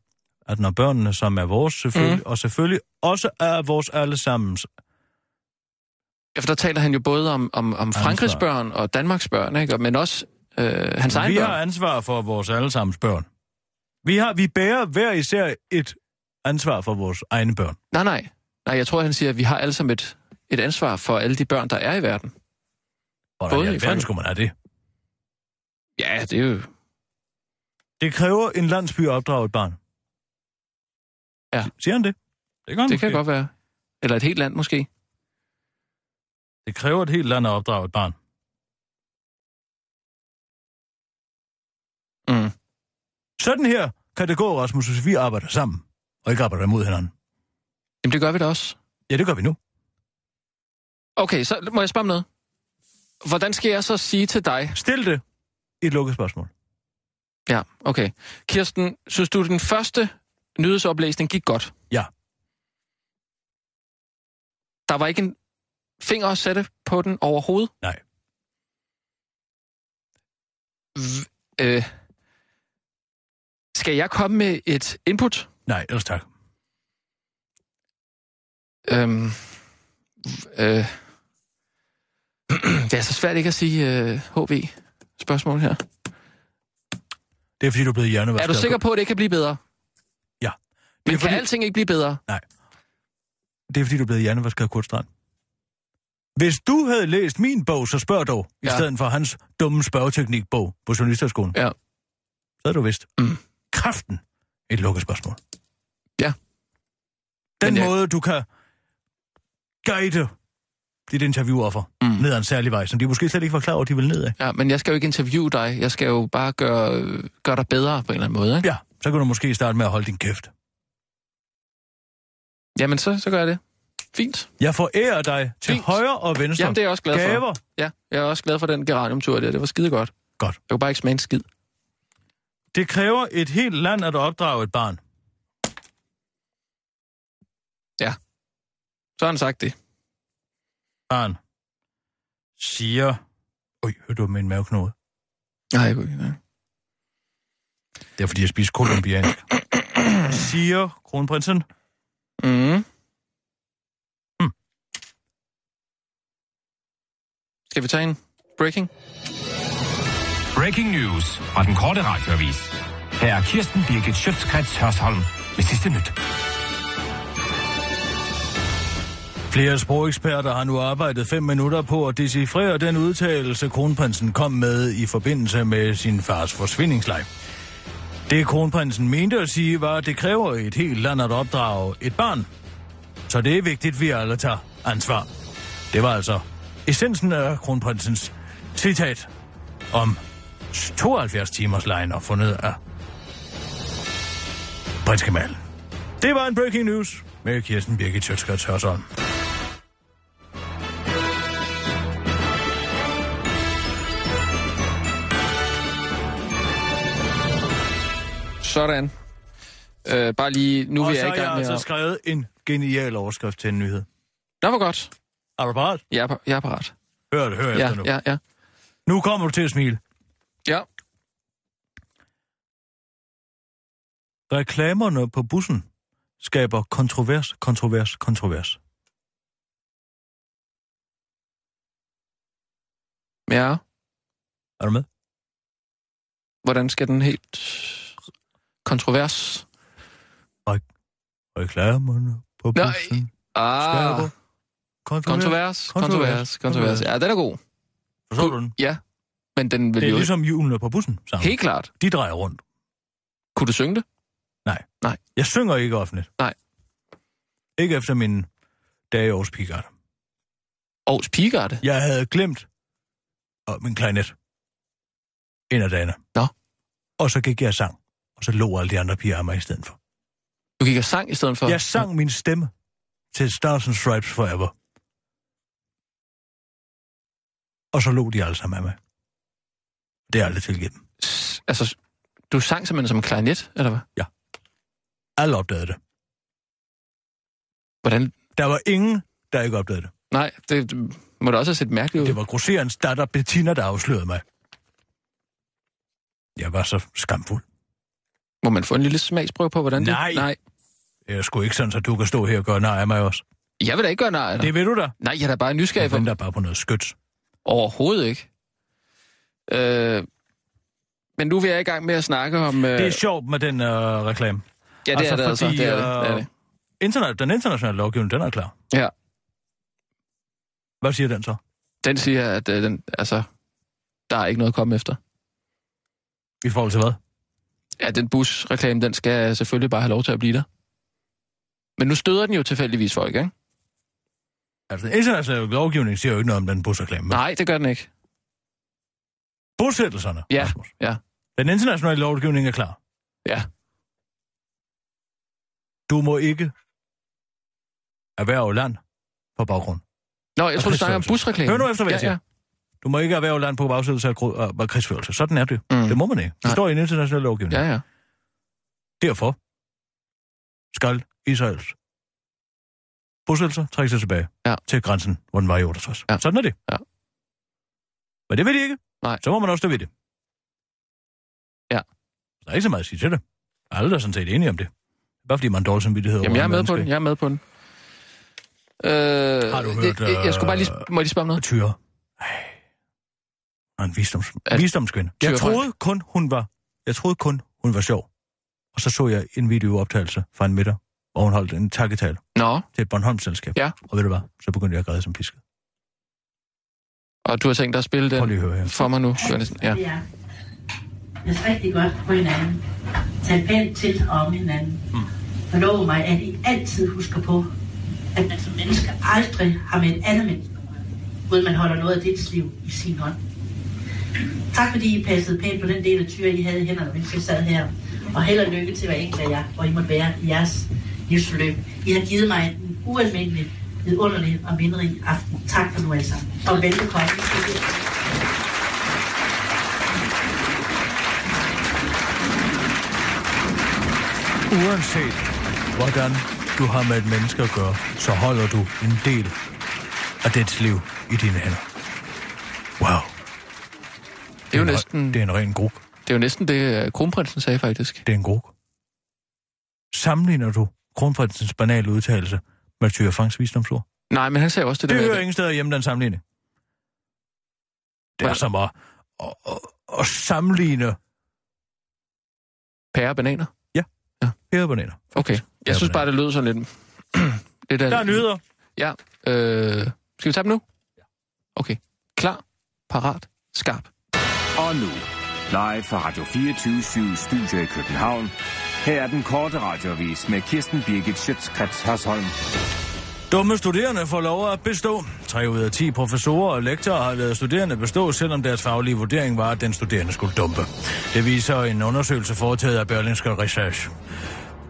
Speaker 4: at når børnene, som er vores selvfølgelig, mm. og selvfølgelig også er vores allesammens,
Speaker 5: Ja, for der taler han jo både om, om, om
Speaker 4: Ansvar.
Speaker 5: Frankrigs børn og Danmarks børn, ikke? Og- men også øh, hans egen
Speaker 4: vi
Speaker 5: børn.
Speaker 4: har ansvar for vores allesammens børn. Vi, har, vi bærer hver især et ansvar for vores egne børn.
Speaker 5: Nej, nej. Nej, jeg tror, han siger, at vi har alle sammen et, et ansvar for alle de børn, der er i verden.
Speaker 4: Hvordan i
Speaker 5: Både i
Speaker 4: alverden
Speaker 5: Frankrig-
Speaker 4: skulle man have det?
Speaker 5: Ja, det er jo...
Speaker 4: Det kræver en landsby at opdrage et barn.
Speaker 5: Ja.
Speaker 4: Siger han det? Det, gør han
Speaker 5: Det kan
Speaker 4: måske.
Speaker 5: godt være. Eller et helt land, måske.
Speaker 4: Det kræver et helt land at opdrage et barn.
Speaker 5: Mm.
Speaker 4: Sådan her kan det gå, Rasmus, hvis vi arbejder sammen, og ikke arbejder imod hinanden.
Speaker 5: Jamen, det gør vi da også.
Speaker 4: Ja, det gør vi nu.
Speaker 5: Okay, så må jeg spørge om noget. Hvordan skal jeg så sige til dig...
Speaker 4: Stil det i et lukket spørgsmål.
Speaker 5: Ja, okay. Kirsten, synes du, den første nyhedsoplæsning gik godt?
Speaker 4: Ja.
Speaker 5: Der var ikke en finger at sætte på den overhovedet?
Speaker 4: Nej.
Speaker 5: V- øh, skal jeg komme med et input?
Speaker 4: Nej, ellers tak.
Speaker 5: Øhm, v- øh, det er så svært ikke at sige øh, HV-spørgsmål her.
Speaker 4: Det er fordi, du er blevet hjernevask.
Speaker 5: Er du sikker på, at det kan blive bedre?
Speaker 4: Ja. Det er
Speaker 5: Men kan
Speaker 4: fordi-
Speaker 5: alting ikke blive bedre?
Speaker 4: Det er fordi, du er blevet hjernevask af Kurt Strand. Hvis du havde læst min bog, så spørg dog, ja. i
Speaker 5: Ja.
Speaker 4: stedet for hans dumme spørgeteknikbog på Journalisterskolen.
Speaker 5: Ja.
Speaker 4: Så havde du vidst.
Speaker 5: Mm.
Speaker 4: Kraften i et lukket spørgsmål.
Speaker 5: Ja.
Speaker 4: Den
Speaker 5: Men jeg-
Speaker 4: måde, du kan guide dit interviewoffer mm.
Speaker 5: Mm.
Speaker 4: ned ad en særlig vej, som de måske slet ikke var klar over, de ville ned af.
Speaker 5: Ja, men jeg skal jo ikke interviewe dig. Jeg skal jo bare gøre, øh, gøre dig bedre på en eller anden måde. Ikke?
Speaker 4: Ja, så kan du måske starte med at holde din kæft.
Speaker 5: Jamen, så, så gør jeg det. Fint.
Speaker 4: Jeg forærer dig til
Speaker 5: Fint.
Speaker 4: højre og venstre.
Speaker 5: Jamen, det er jeg også glad for.
Speaker 4: Gaver.
Speaker 5: Ja, jeg er også glad for den geraniumtur der. Det var skide godt.
Speaker 4: Godt.
Speaker 5: Jeg kunne bare ikke smage en skid.
Speaker 4: Det kræver et helt land at opdrage et barn.
Speaker 5: Så har han sagt det.
Speaker 4: Barn siger... Øj, hørte du min maveknude?
Speaker 5: Nej, jeg kunne ikke. nej.
Speaker 4: Det er, fordi jeg spiser kolumbiansk. siger kronprinsen.
Speaker 5: Mm. Hm.
Speaker 4: Mm.
Speaker 5: Skal vi tage en breaking?
Speaker 6: Breaking news fra den korte radioavis. Her er Kirsten Birgit Schøtzgrads Hørsholm med sidste nyt.
Speaker 4: Flere sprogeksperter har nu arbejdet fem minutter på at decifrere den udtalelse, kronprinsen kom med i forbindelse med sin fars forsvindingsleg. Det kronprinsen mente at sige var, at det kræver et helt land at opdrage et barn. Så det er vigtigt, at vi alle tager ansvar. Det var altså essensen af kronprinsens citat om 72 timers lejen og fundet af prins Kamal. Det var en breaking news med Kirsten Birgit Sjøtskrets Hørsholm.
Speaker 5: Sådan. Øh, bare lige, nu
Speaker 4: Og
Speaker 5: vil
Speaker 4: så
Speaker 5: jeg i
Speaker 4: har jeg
Speaker 5: gang med
Speaker 4: altså
Speaker 5: at...
Speaker 4: skrevet en genial overskrift til en nyhed.
Speaker 5: Nå, hvor godt.
Speaker 4: Er du parat?
Speaker 5: Jeg er, par- jeg er parat.
Speaker 4: Hør det, hør
Speaker 5: Ja,
Speaker 4: efter nu.
Speaker 5: ja, ja.
Speaker 4: Nu kommer du til at smile.
Speaker 5: Ja,
Speaker 4: Reklamerne på bussen skaber kontrovers, kontrovers, kontrovers.
Speaker 5: ja.
Speaker 4: Er du med?
Speaker 5: Hvordan skal den helt... Kontrovers?
Speaker 4: Reklamerne på
Speaker 5: Nej.
Speaker 4: bussen
Speaker 5: Ah,
Speaker 4: skaber kontrovers.
Speaker 5: kontrovers, kontrovers, kontrovers. Ja, den er god.
Speaker 4: Forstår du den?
Speaker 5: Ja, men den vil
Speaker 4: Det
Speaker 5: jo...
Speaker 4: er ligesom hjulene på bussen sammen.
Speaker 5: Helt klart.
Speaker 4: De drejer rundt.
Speaker 5: Kunne du synge det?
Speaker 4: Jeg synger ikke offentligt.
Speaker 5: Nej.
Speaker 4: Ikke efter min dage i Aarhus Pigard.
Speaker 5: Aarhus Pigegarde?
Speaker 4: Jeg havde glemt og min klarinet. En af dagene.
Speaker 5: Nå.
Speaker 4: Og så gik jeg og sang. Og så lå alle de andre piger af mig i stedet for.
Speaker 5: Du gik og sang i stedet for?
Speaker 4: Jeg sang min stemme til Stars and Stripes Forever. Og så lå de alle sammen af mig. Det er aldrig tilgivet dem.
Speaker 5: S- Altså, du sang simpelthen som en klarinet, eller hvad?
Speaker 4: Alle opdagede det.
Speaker 5: Hvordan?
Speaker 4: Der var ingen, der ikke opdagede det.
Speaker 5: Nej, det, det må da også have set mærkeligt ud.
Speaker 4: Det var grosserens datter Bettina, der afslørede mig. Jeg var så skamfuld.
Speaker 5: Må man få en lille smagsprøve på, hvordan
Speaker 4: Nej.
Speaker 5: det... Nej.
Speaker 4: Jeg skulle ikke sådan, så du kan stå her og gøre nar af mig også.
Speaker 5: Jeg vil da ikke gøre nej. Det...
Speaker 4: Det ved du da.
Speaker 5: Nej, jeg er da bare nysgerrig
Speaker 4: Jeg
Speaker 5: for...
Speaker 4: venter bare på noget skyts.
Speaker 5: Overhovedet ikke. Øh... Men nu vil jeg i gang med at snakke om... Øh...
Speaker 4: Det er sjovt med den øh, reklame.
Speaker 5: ja, det er det altså. Det er det. Det er det.
Speaker 4: Internet, den internationale lovgivning, den er klar.
Speaker 5: Ja.
Speaker 4: Hvad siger den så?
Speaker 5: Den siger, at øh, den, altså, der er ikke noget at komme efter.
Speaker 4: I forhold til hvad?
Speaker 5: Ja, den busreklame, den skal selvfølgelig bare have lov til at blive der. Men nu støder den jo tilfældigvis folk, ikke?
Speaker 4: Altså, den internationale lovgivning siger jo ikke noget om den busreklame.
Speaker 5: Nej, det gør den ikke.
Speaker 4: Bosættelserne,
Speaker 5: Ja,
Speaker 4: Rasmus.
Speaker 5: ja.
Speaker 4: Den internationale lovgivning er klar.
Speaker 5: Ja.
Speaker 4: Du må ikke erhverve land på baggrund.
Speaker 5: Nå, jeg tror, du snakker om
Speaker 4: krigsførelse.
Speaker 5: busreklame.
Speaker 4: Hør nu efter, hvad jeg
Speaker 5: ja, ja.
Speaker 4: siger. Du må ikke erhverve land på bagsættelse af gro- og- og krigsførelse. Sådan er det. Mm.
Speaker 5: Mm.
Speaker 4: Det må man ikke. Det
Speaker 5: Nej.
Speaker 4: står i en international lovgivning.
Speaker 5: ja, ja.
Speaker 4: Derfor skal Israels bosættelser trække sig tilbage
Speaker 5: Ja.
Speaker 4: til grænsen, hvor den var i 68.
Speaker 5: Ja.
Speaker 4: Sådan er det.
Speaker 5: Ja.
Speaker 4: Men det vil de ikke.
Speaker 5: Nej.
Speaker 4: Så må man også stå ved det.
Speaker 5: Ja.
Speaker 4: Der er ikke så meget at sige til det. Alle er sådan set enige om det. Bare fordi man har dårlig samvittighed. over
Speaker 5: Jamen, jeg er
Speaker 4: en
Speaker 5: med på
Speaker 4: verdenskrig.
Speaker 5: den. Jeg er med på den. Øh,
Speaker 4: Har du hørt, øh,
Speaker 5: Jeg, jeg skulle bare lige... Må jeg lige spørge om
Speaker 4: Og
Speaker 5: noget?
Speaker 4: Tyre. Ej. Og en visdoms,
Speaker 5: At-
Speaker 4: visdomskvinde. Jeg
Speaker 5: Tyre Frank.
Speaker 4: troede kun, hun var... Jeg troede kun, hun var sjov. Og så så jeg en videooptagelse fra en middag, hvor hun holdt en takketale
Speaker 5: Nå,
Speaker 4: til et Bornholm-selskab.
Speaker 5: Ja.
Speaker 4: Og ved du hvad? Så begyndte jeg at græde som pisket.
Speaker 5: og du har tænkt dig at spille
Speaker 4: Prøv lige
Speaker 5: den
Speaker 4: at høre her.
Speaker 5: for mig nu, Johannes. Ja.
Speaker 10: Ja. Pas rigtig godt på hinanden. Tag pænt til om hinanden. Og lov mig, at I altid husker på, at man som menneske aldrig har med et andet menneske at gøre, uden man holder noget af dit liv i sin hånd. Tak fordi I passede pænt på den del af tyre, I havde i hænderne, mens jeg sad her. Og held og lykke til hver enkelt af jer, hvor I måtte være i jeres livsforløb. I har givet mig en ualmindelig, vidunderlig og mindrig aften. Tak for nu alle sammen. Og velkommen til det.
Speaker 4: Uanset hvordan du har med et menneske at gøre, så holder du en del af dets liv i dine hænder. Wow.
Speaker 5: Det er jo næsten
Speaker 4: Det er en ren gruk.
Speaker 5: det, er jo næsten det øh, kronprinsen sagde, faktisk.
Speaker 4: Det er en gruk. Sammenligner du kronprinsens banale udtalelse med Tyre Franks visdomsord?
Speaker 5: Nej, men han sagde også det,
Speaker 4: Det
Speaker 5: der
Speaker 4: hører
Speaker 5: med...
Speaker 4: ingen steder hjemme, den sammenligning. Det er
Speaker 5: Hvordan-
Speaker 4: som at, at, at, at sammenligne
Speaker 5: Pære og bananer.
Speaker 4: pærebananer.
Speaker 5: Okay. Jeg synes bare, det lød sådan lidt... lidt af,
Speaker 4: Der er nyheder.
Speaker 5: Ja. Øh, skal vi tage dem nu? Okay. Klar, parat, skarp.
Speaker 6: Og nu, live fra Radio 24 Studio i København. Her er den korte radiovis med Kirsten Birgit Schøtzgrads Hasholm.
Speaker 4: Dumme studerende får lov at bestå. 3 ud af 10 professorer og lektorer har lavet studerende bestå, selvom deres faglige vurdering var, at den studerende skulle dumpe. Det viser en undersøgelse foretaget af Berlingske Research.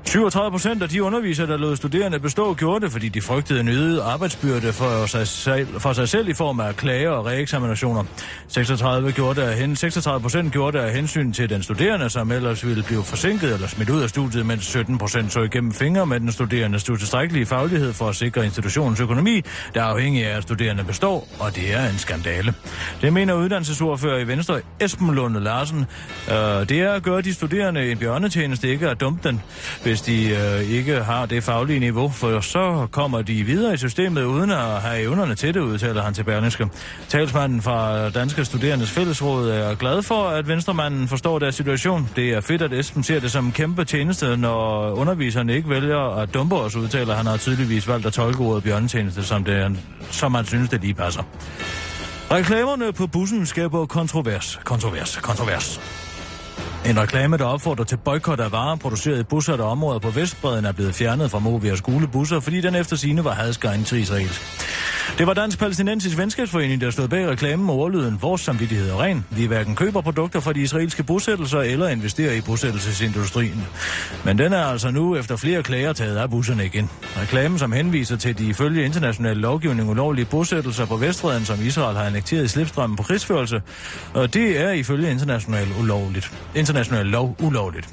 Speaker 4: 37 procent af de undervisere, der lod studerende bestå, gjorde det, fordi de frygtede en øget arbejdsbyrde for sig, selv, for sig selv i form af klager og reeksaminationer. 36 gjorde det af hen, 36 procent gjorde det af hensyn til den studerende, som ellers ville blive forsinket eller smidt ud af studiet, mens 17 procent så igennem fingre med den studerende tilstrækkelige faglighed for at sikre institutionens økonomi, der er afhængig af, at studerende består, og det er en skandale. Det mener uddannelsesordfører i Venstre, Esben Lunde Larsen. Øh, det er at gøre de studerende en bjørnetjeneste ikke at dumpe den, hvis de øh, ikke har det faglige niveau, for så kommer de videre i systemet uden at have evnerne til det, udtaler han til Berlingske. Talsmanden fra Danske Studerendes Fællesråd er glad for, at venstremanden forstår deres situation. Det er fedt, at Esben ser det som en kæmpe tjeneste, når underviserne ikke vælger at dumpe os, udtaler han har tydeligvis valgt at tolke ordet bjørnetjeneste, som, det er, som han synes, det lige passer. Reklamerne på bussen skaber kontrovers, kontrovers, kontrovers. En reklame, der opfordrer til boykot af varer produceret i busser, der områder på Vestbreden, er blevet fjernet fra Movias gule busser, fordi den efter sine var hadskejende til israelsk. Det var Dansk Palæstinensisk Venskabsforening, der stod bag reklamen med ordlyden Vores samvittighed er ren. Vi hverken køber produkter fra de israelske bosættelser eller investerer i bosættelsesindustrien. Men den er altså nu efter flere klager taget af busserne igen. Reklamen, som henviser til de ifølge international lovgivning ulovlige bosættelser på Vestbreden, som Israel har annekteret i slipstrømmen på krigsførelse, og det er ifølge international ulovligt. International lov ulovligt.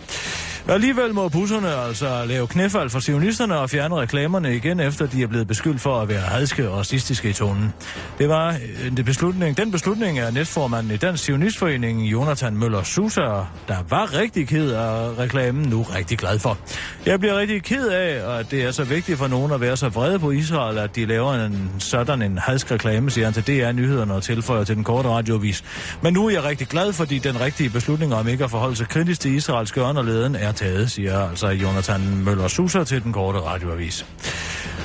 Speaker 4: Alligevel må busserne altså lave knæfald for sionisterne og fjerne reklamerne igen, efter de er blevet beskyldt for at være hadske og racistiske i tonen. Det var en beslutning. Den beslutning er næstformanden i Dansk Sionistforening, Jonathan Møller Susa, der var rigtig ked af reklamen, nu rigtig glad for. Jeg bliver rigtig ked af, at det er så vigtigt for nogen at være så vrede på Israel, at de laver en sådan en hadsk reklame, siger han til DR Nyhederne og tilføjer til den korte radiovis. Men nu er jeg rigtig glad, fordi den rigtige beslutning om ikke at forholde sig kritisk til Israels gørn og leden er taget, siger altså Jonathan Møller Suser til den korte radioavis.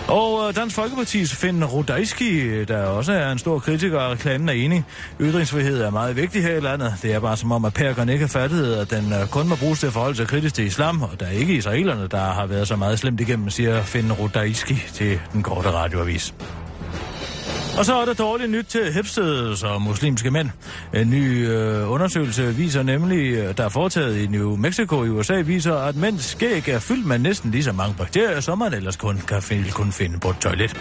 Speaker 4: Og øh, Dansk Folkeparti's Finn Rodajski, der også er en stor kritiker af reklamen, er enig. Ytringsfrihed er meget vigtig her i landet. Det er bare som om, at Perkeren ikke har fattet, at den øh, kun må bruges til at forholde sig kritisk til islam, og der er ikke israelerne, der har været så meget slemt igennem, siger Finn Rodajski til den korte radioavis. Og så er der dårligt nyt til hipsteds og muslimske mænd. En ny øh, undersøgelse viser nemlig, øh, der er foretaget i New Mexico i USA, viser, at mænds skæg er fyldt med næsten lige så mange bakterier, som man ellers kun kan finde, kun finde på et toilet.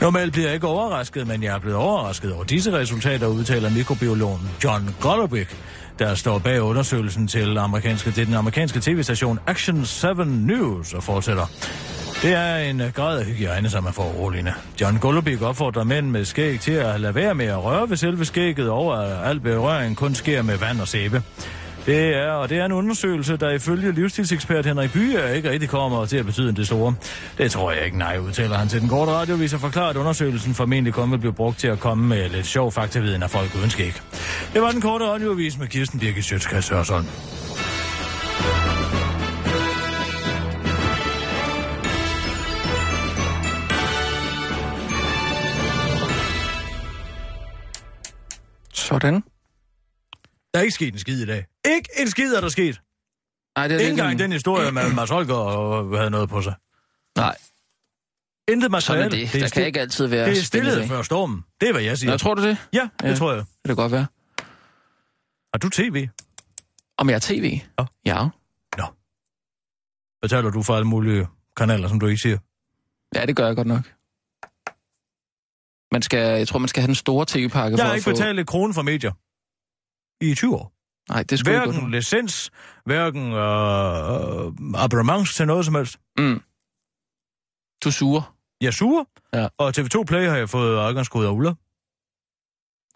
Speaker 4: Normalt bliver jeg ikke overrasket, men jeg er blevet overrasket over disse resultater, udtaler mikrobiologen John Golovic der står bag undersøgelsen til, amerikanske, til den amerikanske tv-station Action 7 News og fortsætter. Det er en øh, grad af hygiejne, som er foruroligende. John Golubic opfordrer mænd med skæg til at lade være med at røre ved selve skægget over, at al berøring kun sker med vand og sæbe. Det er, og det er en undersøgelse, der ifølge livsstilsekspert Henrik Byer ikke rigtig kommer til at betyde det store. Det tror jeg ikke, nej, udtaler han til den korte radiovis og forklarer, at undersøgelsen formentlig kun vil blive brugt til at komme med lidt sjov faktaviden af folk uden skæg. Det var den korte radiovis med Kirsten Birgit Sjøtskas Hørsholm.
Speaker 5: Sådan.
Speaker 4: Der er ikke sket en skid i dag. Ikke en skid er der sket.
Speaker 5: Nej, det er
Speaker 4: Ikke
Speaker 5: ikke en-
Speaker 4: engang den historie med Mads Holger og havde noget på sig.
Speaker 5: Nej,
Speaker 4: Intet
Speaker 5: sådan
Speaker 4: materiale.
Speaker 5: er det. Der kan
Speaker 4: sti-
Speaker 5: ikke altid være
Speaker 4: det er
Speaker 5: spændende
Speaker 4: stillet
Speaker 5: ting.
Speaker 4: før stormen. Det er, hvad jeg siger.
Speaker 5: Nå, tror du det?
Speaker 4: Ja, det
Speaker 5: Ja.
Speaker 4: tror jeg.
Speaker 5: Det kan det godt være.
Speaker 4: Har du tv?
Speaker 5: Om jeg er tv?
Speaker 4: Ja.
Speaker 5: Ja.
Speaker 4: Betaler du for alle mulige kanaler, som du ikke siger?
Speaker 5: Ja, det gør jeg godt nok. Man skal, jeg tror, man skal have den store tv-pakke
Speaker 4: Jeg
Speaker 5: for
Speaker 4: har
Speaker 5: at
Speaker 4: ikke
Speaker 5: få...
Speaker 4: betalt et krone for medier. I 20 år.
Speaker 5: Nej, det skulle ikke
Speaker 4: Hverken licens, hverken øh, abonnements til noget som helst.
Speaker 5: Du suger.
Speaker 4: Jeg er sur,
Speaker 5: Ja.
Speaker 4: og TV2 Play har jeg fået adgangskode af Ulla.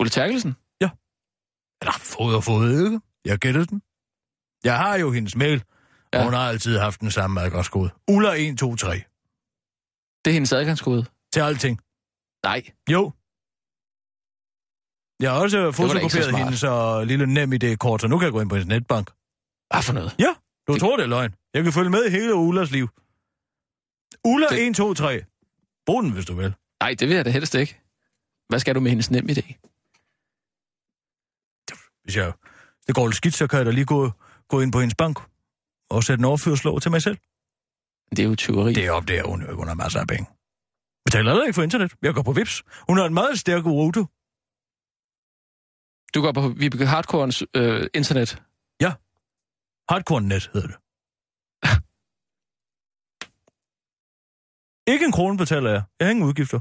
Speaker 5: Ulle Terkelsen?
Speaker 4: Eller fået og fået, ikke? Jeg gættede den. Jeg har jo hendes mail, ja.
Speaker 5: Ja.
Speaker 4: og hun har altid haft den samme adgangskode. Ulla 123.
Speaker 5: Det er hendes adgangskode.
Speaker 4: Til alting.
Speaker 5: Nej.
Speaker 4: Jo. Jeg har også øh,
Speaker 5: ikke så
Speaker 4: fotokopieret
Speaker 5: smart.
Speaker 4: hendes og lille nem idé kort, så nu kan jeg gå ind på hendes netbank.
Speaker 5: Hvad for noget?
Speaker 4: Ja, du det...
Speaker 5: Det-
Speaker 4: tror det er løgn. Jeg kan følge med i hele Ulas liv. Ulla
Speaker 5: Det-
Speaker 4: 123. Brug den, hvis du vil.
Speaker 5: Nej, det vil jeg da helst ikke. Hvad skal du med hendes nem idé?
Speaker 4: Hvis jeg, det går lidt skidt, så kan jeg da lige gå, gå ind på hendes bank og sætte en overførsel over til mig selv.
Speaker 5: Det er jo tyveri.
Speaker 4: Det er op der, hun, hun har masser af penge. Betaler heller ikke for internet. Jeg går på VIPS. Hun har en meget stærk rute.
Speaker 5: Du går på Vibeke Hardcorens øh, internet.
Speaker 4: Hardcore-net hedder det. ikke en krone betaler jeg. Jeg har ingen udgifter.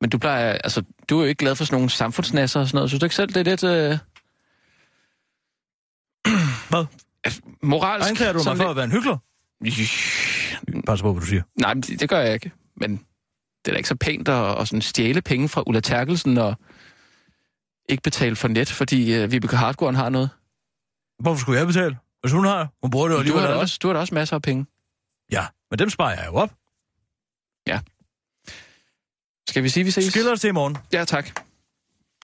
Speaker 5: Men du plejer, altså, du er jo ikke glad for sådan nogle samfundsnasser og sådan noget. Synes du ikke selv, det er lidt... Øh...
Speaker 4: Hvad?
Speaker 5: Altså, Moralsk.
Speaker 4: Anklager du mig
Speaker 5: sådan
Speaker 4: for at være en hyggelig?
Speaker 5: lidt-
Speaker 4: Pas på, hvad du siger.
Speaker 5: Nej, men det, det gør jeg ikke. Men det er da ikke så pænt at, at sådan stjæle penge fra Ulla Terkelsen og ikke betale for net, fordi øh, Vibeke Hardgården har noget.
Speaker 4: Hvorfor skulle jeg betale? Hvis hun har, hun bruger det jo
Speaker 5: Du
Speaker 4: alligevel.
Speaker 5: har, da
Speaker 4: aldrig.
Speaker 5: også, du har da også masser af penge.
Speaker 4: Ja, men dem sparer jeg jo op.
Speaker 5: Skal vi sige, vi ses?
Speaker 4: Skiller os til i morgen.
Speaker 5: Ja, tak.